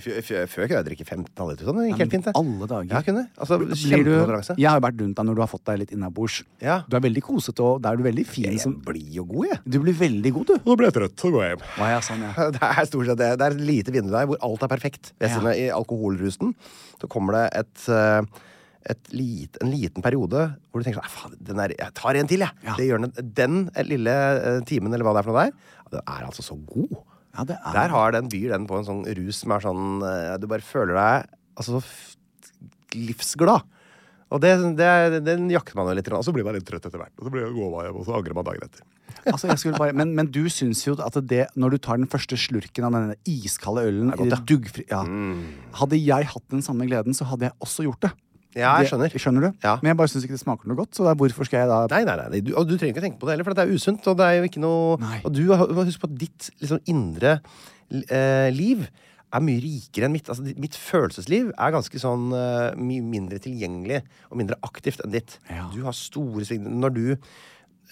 Speaker 3: Før, før, før kunne jeg drikke 15 halvliter. Sånn. Det gikk helt fint, det.
Speaker 2: Alle dager.
Speaker 3: Ja, kunne. Altså,
Speaker 2: Blir du,
Speaker 3: Kjempekonkurranse.
Speaker 2: jeg har jo vært rundt deg når du har fått deg litt innabords.
Speaker 3: Ja.
Speaker 2: Du er veldig kosete, og da er du veldig fin.
Speaker 3: Jeg
Speaker 2: Som,
Speaker 3: blir jo god, jeg.
Speaker 2: du blir veldig god, du.
Speaker 3: Nå ble jeg trøtt, så går jeg hjem.
Speaker 2: Å, ja, sånn, ja.
Speaker 3: Det er stort sett det. Det er et lite vindu der hvor alt er perfekt. Ved siden av I alkoholrusen så kommer det et, eh, et lit, en liten periode hvor du tenker sånn «Nei, faen, den er, Jeg tar en til, jeg.
Speaker 2: Ja.
Speaker 3: Det gjør den, den lille eh, timen, eller hva det er for noe der, ja, den er altså så god.
Speaker 2: Ja, det er-
Speaker 3: Der har den byr den på en sånn rus som er sånn eh, Du bare føler deg altså så f- livsglad. Og det, det, er- den jakter man jo litt, og så blir man litt trøtt etter hvert. Og så blir går man hjem, og så angrer man dagen etter.
Speaker 2: Altså, jeg skulle bare, men, men du syns jo at det når du tar den første slurken av denne iskalde ølen i det duggfri, ja. Mm. Hadde jeg hatt den samme gleden, så hadde jeg også gjort det.
Speaker 3: Ja, jeg
Speaker 2: Det-
Speaker 3: skjønner.
Speaker 2: skjønner du?
Speaker 3: Ja.
Speaker 2: Men jeg bare syns ikke det smaker noe godt, så da, hvorfor skal jeg da
Speaker 3: Nei, nei, nei, du, og du trenger ikke å tenke på det heller, for det er usunt. Og det er jo ikke noe
Speaker 2: Nei.
Speaker 3: Og du har- du må huske på at ditt liksom, indre eh, liv er mye rikere enn mitt. Altså, ditt- mitt følelsesliv er ganske sånn eh, mye mindre tilgjengelig og mindre aktivt enn ditt.
Speaker 2: Ja.
Speaker 3: Du har store svingninger. Når du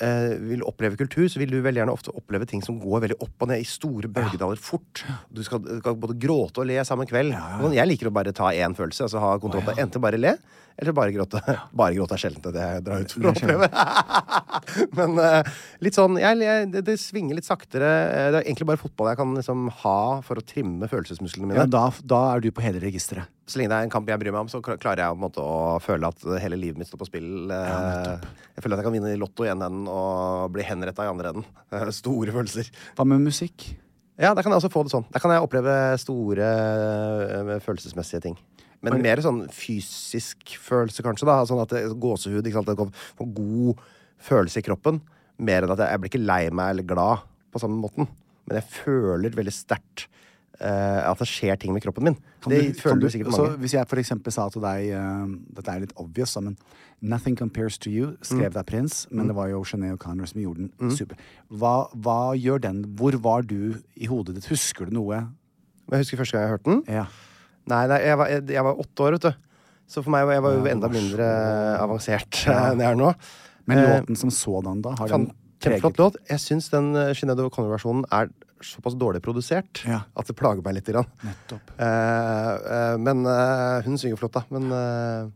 Speaker 3: eh, vil oppleve kultur, så vil du veldig gjerne ofte oppleve ting som går veldig opp og ned i store bølgedaler fort. Du skal, du kan både gråte og le samme kveld. Men Jeg liker å bare ta én følelse, altså ha kontroll på Enten bare le, eller bare gråte. Bare gråte er sjelden det jeg drar ut for å oppleve. Men eh, litt sånn jeg, jeg, det, det svinger litt saktere. Eh, Det er egentlig bare fotball jeg kan liksom ha for å trimme følelsesmusklene mine.
Speaker 2: ja, da, da er du på hele registeret.
Speaker 3: Så lenge det er en kamp jeg bryr meg om, så kla- klarer jeg på en måte å føle at hele livet mitt står på spill. Eh, jeg føler at jeg kan vinne i Lotto i ene enden og bli henretta i andre enden. Eh, Store følelser.
Speaker 2: Hva med musikk?
Speaker 3: Ja, der kan jeg også få det sånn. Der kan jeg oppleve store eh, følelsesmessige ting. Men mer sånn fysisk følelse, kanskje. da Sånn at det, Gåsehud. ikke sant? Det kom en god følelse i kroppen. Mer enn at jeg, jeg blir ikke lei meg eller glad på samme måten. Men jeg føler veldig sterkt eh, at det skjer ting med kroppen min.
Speaker 2: Kan
Speaker 3: det
Speaker 2: du- altså- kan
Speaker 3: føler du sikkert
Speaker 2: så
Speaker 3: mange.
Speaker 2: Hvis jeg for eksempel sa til deg eh, Dette er litt obvious, da, men Nothing Compares To You
Speaker 3: Mm.
Speaker 2: skrev deg Prins, men det var jo Jeanette O'Connor som gjorde den. Super. Hva, hva gjør den? Hvor var du i hodet ditt? Husker du noe?
Speaker 3: Men jeg husker første gang jeg hørte den.
Speaker 2: Ja.
Speaker 3: Nei, nei jeg, var, jeg, jeg var åtte år, vet du. Så for meg var jeg var jo enda mindre avansert eh, enn jeg er nå.
Speaker 2: Men
Speaker 3: Eh,
Speaker 2: låten som sådan, da? Har den
Speaker 3: Fan- Kjempeflott
Speaker 2: preget
Speaker 3: låt. Jeg syns den eh, Sinead O'Connor-versjonen er såpass dårlig produsert
Speaker 2: Ja.
Speaker 3: at det plager meg litt. Grann.
Speaker 2: Nettopp.
Speaker 3: Eh, eh, men eh, hun synger flott, da. Men, eh,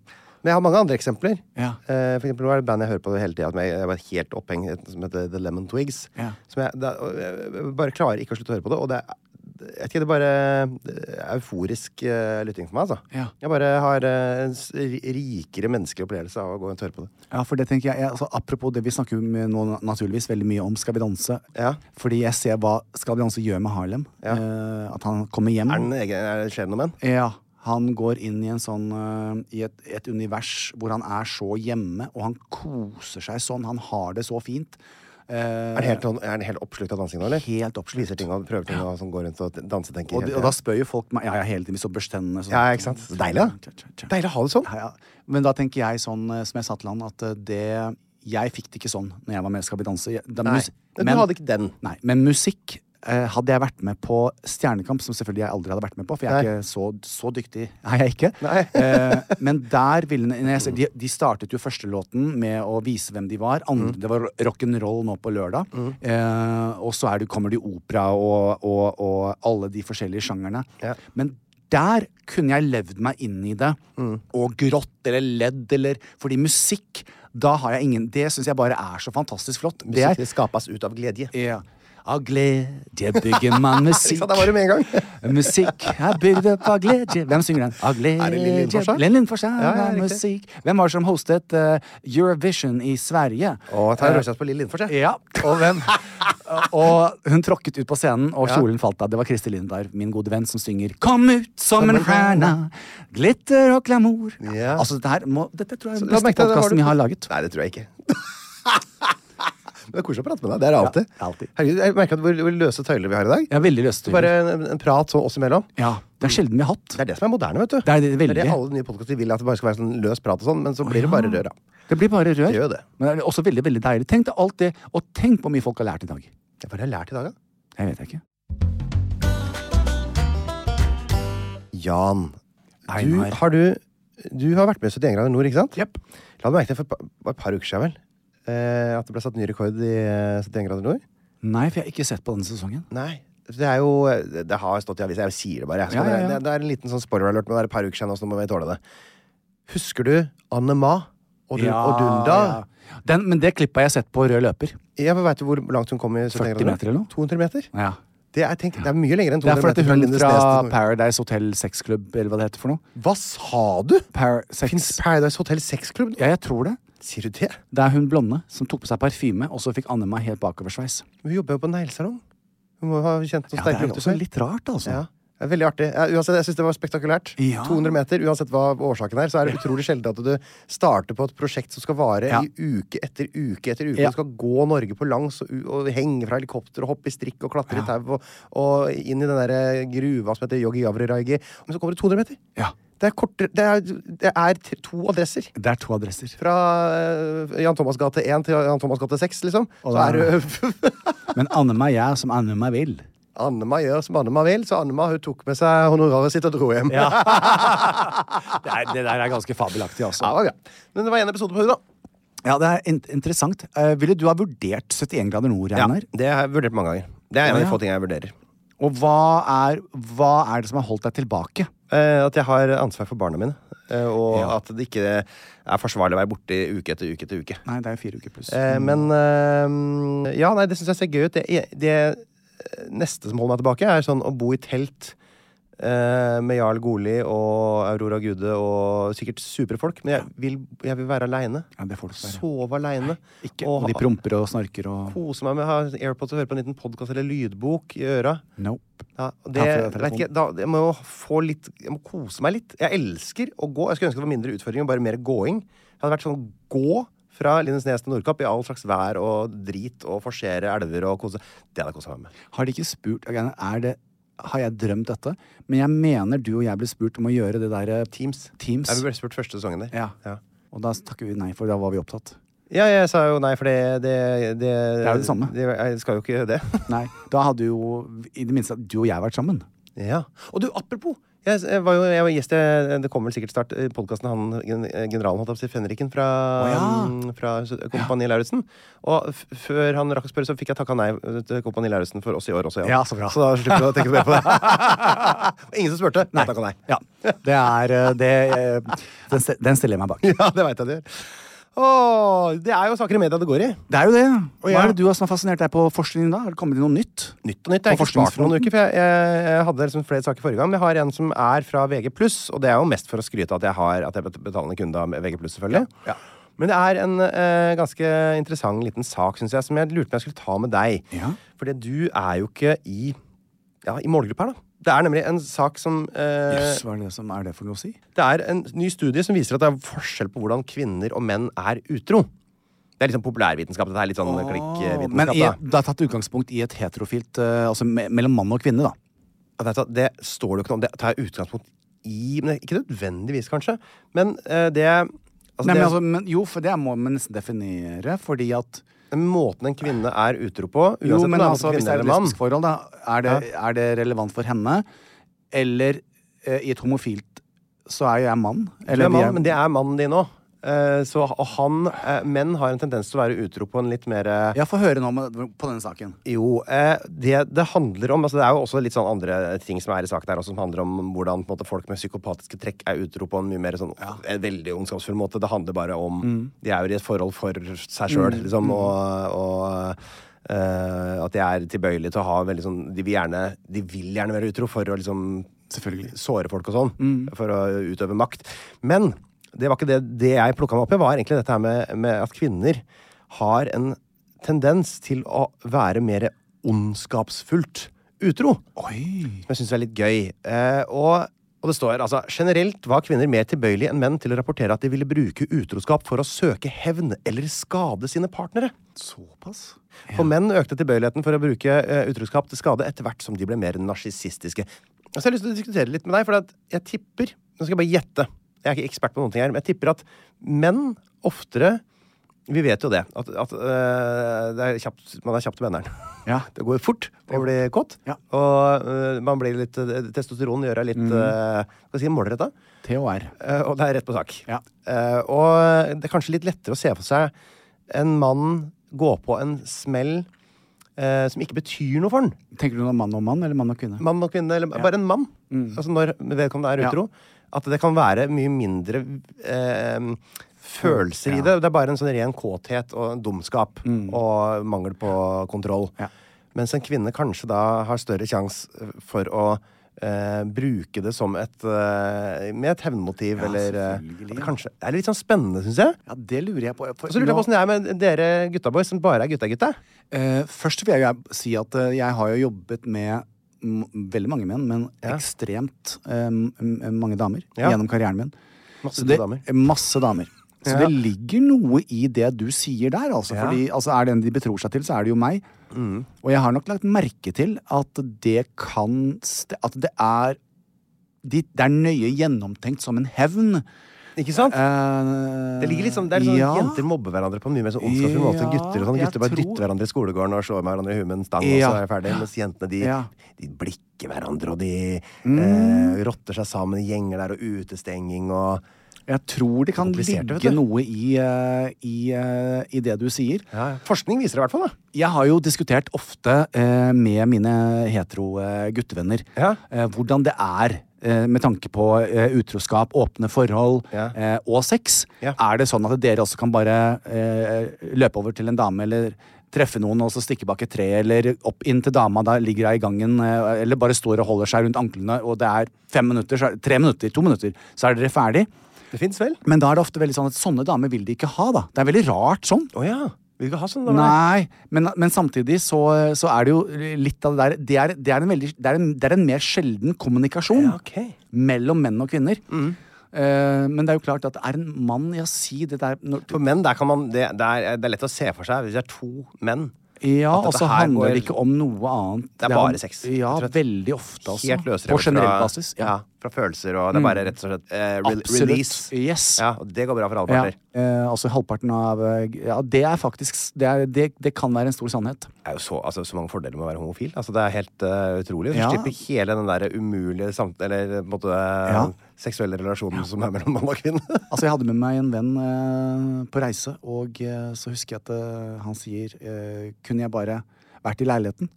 Speaker 3: men jeg har mange andre eksempler.
Speaker 2: Ja.
Speaker 3: Eh, for eksempel, nå er det et band jeg hører på hele tida, som jeg, jeg var helt opphengt som heter The Lemon Twigs.
Speaker 2: Ja.
Speaker 3: Som jeg, det, er- og jeg jeg bare klarer ikke å slutte å høre på det. Og det er, jeg vet ikke, det er bare eh, euforisk eh, lytting for meg, altså.
Speaker 2: Ja.
Speaker 3: Jeg bare har eh, en s- rikere menneskelig opplevelse av å gå rundt og høre på det.
Speaker 2: Ja, for det tenker jeg, jeg altså, Apropos det vi snakker jo med nå naturligvis veldig mye om Skal vi danse. Eh,
Speaker 3: Ja.
Speaker 2: Fordi jeg ser hva Skal vi danse gjør med Harlem.
Speaker 3: Ja.
Speaker 2: Eh, at han kommer hjem.
Speaker 3: Er den egen, er det skjer det noe med den?
Speaker 2: Ja. Han går inn i, en sånn, eh, i et, et univers hvor han er så hjemme, og han koser seg sånn. Han har det så fint. Eh,
Speaker 3: Er den helt, sånn- er den helt oppslukt av dansing nå, eller?
Speaker 2: Helt oppslukt.
Speaker 3: Viser ting og prøver ting og sånn går rundt og dansetenker.
Speaker 2: og, de-
Speaker 3: hele
Speaker 2: og da
Speaker 3: tiden.
Speaker 2: spør jo folk meg Ja, ja, hele tiden. Hvis du børster tennene sånn.
Speaker 3: Ja, ikke sant? Så deilig, da. Deilig å ha det sånn.
Speaker 2: Ja, ja. Men da tenker jeg sånn eh, som jeg sa til han, at eh, det Jeg fikk det ikke sånn når jeg var med i Skal vi danse. Jeg- da
Speaker 3: Nei,
Speaker 2: mus-
Speaker 3: men du hadde ikke den.
Speaker 2: Nei, men musikk eh, hadde jeg vært med på Stjernekamp, som selvfølgelig jeg aldri hadde vært med på, for jeg er
Speaker 3: Nei.
Speaker 2: ikke så, så dyktig. Nei, jeg er ikke.
Speaker 3: Nei.
Speaker 2: Eh, men der ville når jeg ser- de, de startet jo første låten med å vise hvem de var. Andre,
Speaker 3: Mm.
Speaker 2: Det var rock'n'roll nå på lørdag. Eh, og så er det, kommer det jo opera og, og, og alle de forskjellige sjangerne.
Speaker 3: Ja.
Speaker 2: Men der kunne jeg levd meg inn i det,
Speaker 3: Mm.
Speaker 2: og grått eller ledd eller Fordi musikk, da har jeg ingen Det syns jeg bare er så fantastisk flott. Det er
Speaker 3: Musikk skapes ut av glede.
Speaker 2: ja. Av glede bygger man musikk.
Speaker 3: Ikke sant, der var du med en gang.
Speaker 2: musikk er bygd opp av glede. Hvem synger den? Av glede
Speaker 3: Er det Linn Lindfors, da?
Speaker 2: Linn Lindfors, ja,
Speaker 3: Ja, ja,
Speaker 2: er
Speaker 3: riktig.
Speaker 2: musikk. Hvem var det som hostet eh, Eurovision i Sverige? Eh,
Speaker 3: Og ta en rødkjaps på Lille Lindfors, jeg.
Speaker 2: Ja, og hvem? og hun tråkket ut på scenen, og
Speaker 3: Ja.
Speaker 2: kjolen falt av. Det var Kristi Lindarv, min gode venn, som synger 'Kom ut som en stjerne', glitter og glamour.
Speaker 3: Ja.
Speaker 2: Altså, dette, her må, dette tror jeg er den
Speaker 3: Så la
Speaker 2: beste
Speaker 3: merke til det,
Speaker 2: podkasten
Speaker 3: du-
Speaker 2: vi har laget.
Speaker 3: Nei, det tror jeg ikke. Men det er koselig å prate med deg. Det er det alltid.
Speaker 2: Ja, alltid.
Speaker 3: Herregud, jeg merker at hvor, hvor løse tøyler vi har i dag.
Speaker 2: Jeg er veldig løstur.
Speaker 3: Bare en, en prat sånn oss imellom.
Speaker 2: Ja, det er sjelden vi har hatt.
Speaker 3: Det er det som er moderne, vet du.
Speaker 2: Det er det veldig.
Speaker 3: alle nye podkaster vil, at det bare skal være sånn løs prat og sånn, men så blir
Speaker 2: Ah.
Speaker 3: det bare rør av.
Speaker 2: Det blir bare rør.
Speaker 3: Det gjør det.
Speaker 2: Men det er også veldig veldig deilig. Tenk deg alt det, og tenk hvor mye folk har lært i dag.
Speaker 3: Hva har jeg lært i dag, da?
Speaker 2: Jeg vet ikke.
Speaker 3: Jan, du
Speaker 2: Einar.
Speaker 3: har, du, du har vært med i 71 grader nord, ikke sant?
Speaker 2: Jepp.
Speaker 3: La meg merke til for et par, bare et par uker siden, vel, eh, at det ble satt ny rekord i eh, 71 grader nord.
Speaker 2: Nei, for jeg har ikke sett på denne sesongen.
Speaker 3: Nei. Det er jo eh, Det har stått i avisa. Jeg sier det bare. Jeg. Så
Speaker 2: Ja, ja,
Speaker 3: det-
Speaker 2: ja.
Speaker 3: Det, det er en liten sånn spoiler alert, men det er et par uker siden, nå, så nå må vi tåle det. Husker du Anne Ma og, Dun og Dunda?
Speaker 2: ja. Den, men det klippet har jeg sett på rød løper.
Speaker 3: Ja, men Vet du hvor langt hun kom i
Speaker 2: 40
Speaker 3: 71 grader? nord?
Speaker 2: meter eller noe?
Speaker 3: 200 meter?
Speaker 2: Ja.
Speaker 3: Det er, tenk, det er mye lenger enn
Speaker 2: Det er
Speaker 3: 200
Speaker 2: fordi
Speaker 3: meter.
Speaker 2: at hun
Speaker 3: Lindesnes
Speaker 2: fra
Speaker 3: til-
Speaker 2: Paradise Hotel Sexklubb, eller hva det heter for noe.
Speaker 3: Hva sa du?!
Speaker 2: Par sex.
Speaker 3: Fins Paradise Hotel sexklubb?
Speaker 2: Ja, jeg tror det.
Speaker 3: Sier du det?
Speaker 2: Det er hun blonde som tok på seg parfyme, og så fikk Annema helt bakoversveis.
Speaker 3: Hun jobber jo på neglesalong. Hun må ha kjent noen
Speaker 2: Ja, det
Speaker 3: sterke
Speaker 2: er jo også litt rart, altså.
Speaker 3: Ja. Det er veldig artig. Ja, uansett, jeg syns det var spektakulært.
Speaker 2: Ja.
Speaker 3: 200 meter, uansett hva årsaken er, så er det utrolig sjelden at du starter på et prosjekt som skal vare
Speaker 2: Ja.
Speaker 3: i uke etter uke etter uke.
Speaker 2: Ja.
Speaker 3: Du skal gå Norge på langs og, u- og henge fra helikopter og hoppe i strikk og klatre i tau og, og inn i den derre gruva som heter Yogi Yavri Raigi. Men så kommer det 200 meter.
Speaker 2: Ja.
Speaker 3: Det er, kortere- det er, det er t- to adresser.
Speaker 2: Det er to adresser.
Speaker 3: Fra eh, Jan Thomas gate 1 til Jan Thomas gate 6, liksom. Så
Speaker 2: da-
Speaker 3: er du
Speaker 2: Men Annema er jeg som Annema vil.
Speaker 3: Annema gjør som Annema vil, så Annema hun tok med seg honoraret sitt og dro hjem.
Speaker 2: Ja. det, er, det der er ganske fabelaktig, altså.
Speaker 3: Ja, det var greit. Men det var en episode på hodet, da.
Speaker 2: Ja, det er in interessant. Eh, ville du ha vurdert 71 grader nord, Einar?
Speaker 3: det har jeg vurdert mange ganger. Det er en av
Speaker 2: Ja, ja.
Speaker 3: de få tingene jeg vurderer.
Speaker 2: Og hva er, hva er det som har holdt deg tilbake?
Speaker 3: Eh, at jeg har ansvar for barna mine, eh, og
Speaker 2: Ja.
Speaker 3: at det ikke er forsvarlig å være borte i uke etter uke etter uke.
Speaker 2: Nei, det er jo fire uker pluss.
Speaker 3: Eh, men eh, Ja, nei, det syns jeg ser gøy ut. Det, det eh, neste som holder meg tilbake, er sånn å bo i telt eh, med Jarl Goli og Aurora Gude og sikkert supre folk. Men jeg vil, jeg vil være aleine.
Speaker 2: Ja, det får du ikke være.
Speaker 3: Sove aleine.
Speaker 2: Ikke. Og de promper og snorker og
Speaker 3: kose meg med å ha AirPods og høre på en liten podkast eller lydbok i øra.
Speaker 2: Nope.
Speaker 3: Ja, og det,
Speaker 2: Ja, for det er
Speaker 3: vet ikke, da, jeg må jo få litt Jeg må kose meg litt. Jeg elsker å gå. Jeg skulle ønske det var mindre utfordringer, bare mer gåing. Det hadde vært sånn gå fra Lindesnes til Nordkapp i all slags vær og drit og forsere elver og kose Det hadde jeg kosa meg med.
Speaker 2: Har de ikke spurt ok, er det, Har jeg drømt dette? Men jeg mener du og jeg ble spurt om å gjøre det derre
Speaker 3: Teams.
Speaker 2: Teams.
Speaker 3: Jeg ble spurt første sesongen der.
Speaker 2: Ja.
Speaker 3: Ja.
Speaker 2: Og da takker vi nei, for da var vi opptatt.
Speaker 3: Ja, jeg sa jo nei, for det Det, det,
Speaker 2: er jo det samme.
Speaker 3: jeg skal jo ikke gjøre det.
Speaker 2: Nei, Da hadde jo i det minste du og jeg vært sammen.
Speaker 3: Ja. Og du, apropos! Jeg, s- jeg var jo jeg var gjest i Det kommer vel sikkert snart i podkasten han gen- generalen holdt opp til Fenriken fra,
Speaker 2: Å ja.
Speaker 3: mm, fra s- Kompani Lauritzen. Og f før han rakk å spørre, så fikk jeg takka nei eh, til Kompani Lauritzen for oss i år også.
Speaker 2: Ja, så bra.
Speaker 3: da slipper du å tenke mer på det. Ingen som spurte. Jeg takka nei.
Speaker 2: Ja, Det er eh, det eh, Den, ste- den stiller jeg meg bak.
Speaker 3: Ja, det veit jeg du gjør. Åh, det er jo saker i media det går i.
Speaker 2: Det er jo det. Hva
Speaker 3: jeg-
Speaker 2: er det du har som har fascinert deg på forskningen da? Har det kommet inn noe nytt?
Speaker 3: Nytt og nytt.
Speaker 2: På
Speaker 3: Jeg har ikke spart noen
Speaker 2: forskningsfronten?
Speaker 3: uker, for jeg, jeg, jeg hadde liksom flere saker forrige gang. Men jeg har en som er fra VG+, og det er jo mest for å skryte av at jeg har at jeg er betalende kunde av VG+, selvfølgelig.
Speaker 2: Ja.
Speaker 3: Men det er en eh, ganske interessant liten sak, syns jeg, som jeg lurte på om jeg skulle ta med deg.
Speaker 2: Ja.
Speaker 3: Fordi du er jo ikke i, ja, i målgruppa her, da. Det er nemlig en sak som eh,
Speaker 2: Jøss, hva er det som er det for noe å si?
Speaker 3: Det er en ny studie som viser at det er forskjell på hvordan kvinner og menn er utro. Det er litt sånn populærvitenskap. Dette er litt sånn klikkvitenskap.
Speaker 2: Men i,
Speaker 3: da.
Speaker 2: det er tatt utgangspunkt i et heterofilt eh, Altså me mellom mann og kvinne, da.
Speaker 3: Ja, vet du hva, Det står det jo ikke noe om. Det tar jeg utgangspunkt i, men ikke nødvendigvis, kanskje. Men eh, det altså,
Speaker 2: Nei,
Speaker 3: det-
Speaker 2: men, altså, men, jo, for det må man nesten definere, fordi at
Speaker 3: den måten en kvinne er utro på, uansett
Speaker 2: Jo,
Speaker 3: om
Speaker 2: men
Speaker 3: det er mot
Speaker 2: altså, hvis
Speaker 3: kvinne
Speaker 2: det er et
Speaker 3: eller mann
Speaker 2: lesbisk forhold, da, er det, er det relevant for henne? Eller eh, i et homofilt så er jo jeg mann.
Speaker 3: Det
Speaker 2: Eller
Speaker 3: er
Speaker 2: vi
Speaker 3: mann, men det er mannen din òg. Så og han, eh, menn har en tendens til å være utro på en litt mer eh,
Speaker 2: Ja, få høre nå med, på denne saken.
Speaker 3: Jo, eh, det det handler om altså Det er jo også litt sånn andre ting som er i saken her, også, som handler om hvordan på en måte, folk med psykopatiske trekk er utro på en mye mer sånn en veldig ondskapsfull måte. Det handler bare om De er jo i et forhold for seg sjøl, liksom, og, og eh, at de er tilbøyelige til å ha veldig sånn De vil gjerne, de vil gjerne være utro for å liksom
Speaker 2: Selvfølgelig.
Speaker 3: såre folk og sånn, for å utøve makt. Men det var ikke det, det jeg plukka meg opp i, var egentlig dette her med, med at kvinner har en tendens til å være mer ondskapsfullt utro. Som jeg syns er litt gøy. Eh, og, og det står altså generelt var kvinner mer tilbøyelige enn menn til å rapportere at de ville bruke utroskap for å søke hevn eller skade sine partnere.
Speaker 2: Såpass?
Speaker 3: For menn økte tilbøyeligheten for å bruke eh, utroskap til skade etter hvert som de ble mer narsissistiske. Så jeg har lyst til å diskutere litt med deg, for at jeg tipper Nå skal jeg bare gjette. Jeg er ikke ekspert på noen ting her, men jeg tipper at menn oftere Vi vet jo det. At, at eh, det er kjapt, man er kjapt til benderen.
Speaker 2: Ja.
Speaker 3: Det går fort å bli kåt.
Speaker 2: Ja.
Speaker 3: Og eh, man blir litt eh, Testosteron gjør deg litt eh, Hva skal jeg si, målretta.
Speaker 2: THR.
Speaker 3: Eh, og det er rett på sak.
Speaker 2: Ja.
Speaker 3: Eh, og det er kanskje litt lettere å se for seg en mann gå på en smell eh, som ikke betyr noe for han.
Speaker 2: Tenker du nå mann og mann, eller mann og kvinne?
Speaker 3: Mann og kvinne, eller bare en mann. Altså når vedkommende
Speaker 2: Mm.
Speaker 3: er
Speaker 2: Ja.
Speaker 3: utro. At det kan være mye mindre eh, følelser i det. Det er bare en sånn ren kåthet og en dumskap og mangel på kontroll.
Speaker 2: Mm. Ja.
Speaker 3: Mens en kvinne kanskje da har større sjanse for å eh, bruke det som et eh, Med et hevnmotiv,
Speaker 2: Ja,
Speaker 3: eller eh,
Speaker 2: selvfølgelig.
Speaker 3: at det kanskje Det er litt sånn spennende, syns jeg.
Speaker 2: Ja, det lurer jeg på. For
Speaker 3: Og så lurer jeg
Speaker 2: nå-
Speaker 3: på åssen det er med dere gutta boys som bare er gutta-gutta.
Speaker 2: Eh, først vil jeg jo si at eh, jeg har jo jobbet med m veldig mange menn, men ekstremt eh, m- m- mange damer
Speaker 3: Ja.
Speaker 2: gjennom karrieren min.
Speaker 3: Masse
Speaker 2: Så det-
Speaker 3: damer.
Speaker 2: eh, Masse damer. Så
Speaker 3: Ja.
Speaker 2: det ligger noe i det du sier der, altså.
Speaker 3: Ja. Mm.
Speaker 2: Fordi altså, er det en de betror seg til, så er det jo meg. Og jeg har nok lagt merke til at det kan st- At det er de, Det er nøye gjennomtenkt som en hevn.
Speaker 3: Ikke sant?
Speaker 2: Eh,
Speaker 3: Det ligger litt sånn, det er litt sånn
Speaker 2: ja.
Speaker 3: Jenter mobber hverandre på en mye mer sånn ondskapsfull måte enn
Speaker 2: Ja,
Speaker 3: gutter. og sånn.
Speaker 2: jeg
Speaker 3: Gutter bare
Speaker 2: tror-
Speaker 3: dytter hverandre i skolegården og slår med hverandre i huet med en stang.
Speaker 2: Ja.
Speaker 3: og så er jeg ferdig. Mens jentene de,
Speaker 2: Ja. Mm.
Speaker 3: de blikker hverandre, og de eh, rotter seg sammen i gjenger der, og utestenging og
Speaker 2: Jeg tror det kan
Speaker 3: Komplisert, vet
Speaker 2: ligge
Speaker 3: du.
Speaker 2: noe i, eh, i, eh, i det du sier.
Speaker 3: Forskning viser det i hvert fall. da.
Speaker 2: Jeg har jo diskutert ofte eh, med mine hetero eh, guttevenner
Speaker 3: Ja.
Speaker 2: eh, hvordan det er eh, med tanke på eh, utroskap, åpne forhold
Speaker 3: Ja.
Speaker 2: eh, og sex.
Speaker 3: Ja.
Speaker 2: Er det sånn at dere også kan bare eh, løpe over til en dame eller treffe noen og så stikke bak et tre, eller opp inn til dama, da ligger hun i gangen, eh, eller bare står og holder seg rundt anklene, og det er fem minutter, så er, tre minutter, to minutter, så er dere ferdig.
Speaker 3: Det fins vel?
Speaker 2: Men da er det ofte veldig sånn at sånne damer vil de ikke ha, da. Det er veldig rart sånn.
Speaker 3: Å ja. Vil du ikke ha sånn? da, vel?
Speaker 2: Nei, men, men samtidig så, så er det jo litt av det der Det er, det er, en, veldig, det er, en, det er en mer sjelden kommunikasjon
Speaker 3: Ja, ok. Mm.
Speaker 2: mellom menn og kvinner. Eh, men det er jo klart at er en mann Ja, si det der når,
Speaker 3: For menn, der kan man, det, det, er, det er lett å se for seg hvis det er to menn.
Speaker 2: Ja,
Speaker 3: at dette
Speaker 2: og så
Speaker 3: her
Speaker 2: handler
Speaker 3: går-
Speaker 2: det ikke om noe annet.
Speaker 3: Det er bare sex,
Speaker 2: Ja,
Speaker 3: rett og slett.
Speaker 2: veldig ofte, altså.
Speaker 3: Helt løsrevet
Speaker 2: På generell
Speaker 3: fra-
Speaker 2: basis. Ja. Mm.
Speaker 3: Ja, fra følelser og Det er bare rett og slett eh, re
Speaker 2: Absolutt.
Speaker 3: release.
Speaker 2: Yes.
Speaker 3: Ja, og det går bra for alle
Speaker 2: Ja,
Speaker 3: parter.
Speaker 2: eh, altså halvparten av eh, Ja, det er faktisk Det, er, det, det kan være en stor sannhet.
Speaker 3: Det er jo så, altså, så mange fordeler med å være homofil. Altså, det er helt eh, utrolig. Du
Speaker 2: Ja.
Speaker 3: slipper hele den der umulige samt... Eller på en måte eh,
Speaker 2: Ja.
Speaker 3: seksuelle relasjonen som er mellom mann og kvinne.
Speaker 2: Altså, jeg hadde med meg en venn eh, på reise, og eh, så husker jeg at eh, han sier eh, Kunne jeg bare vært i leiligheten?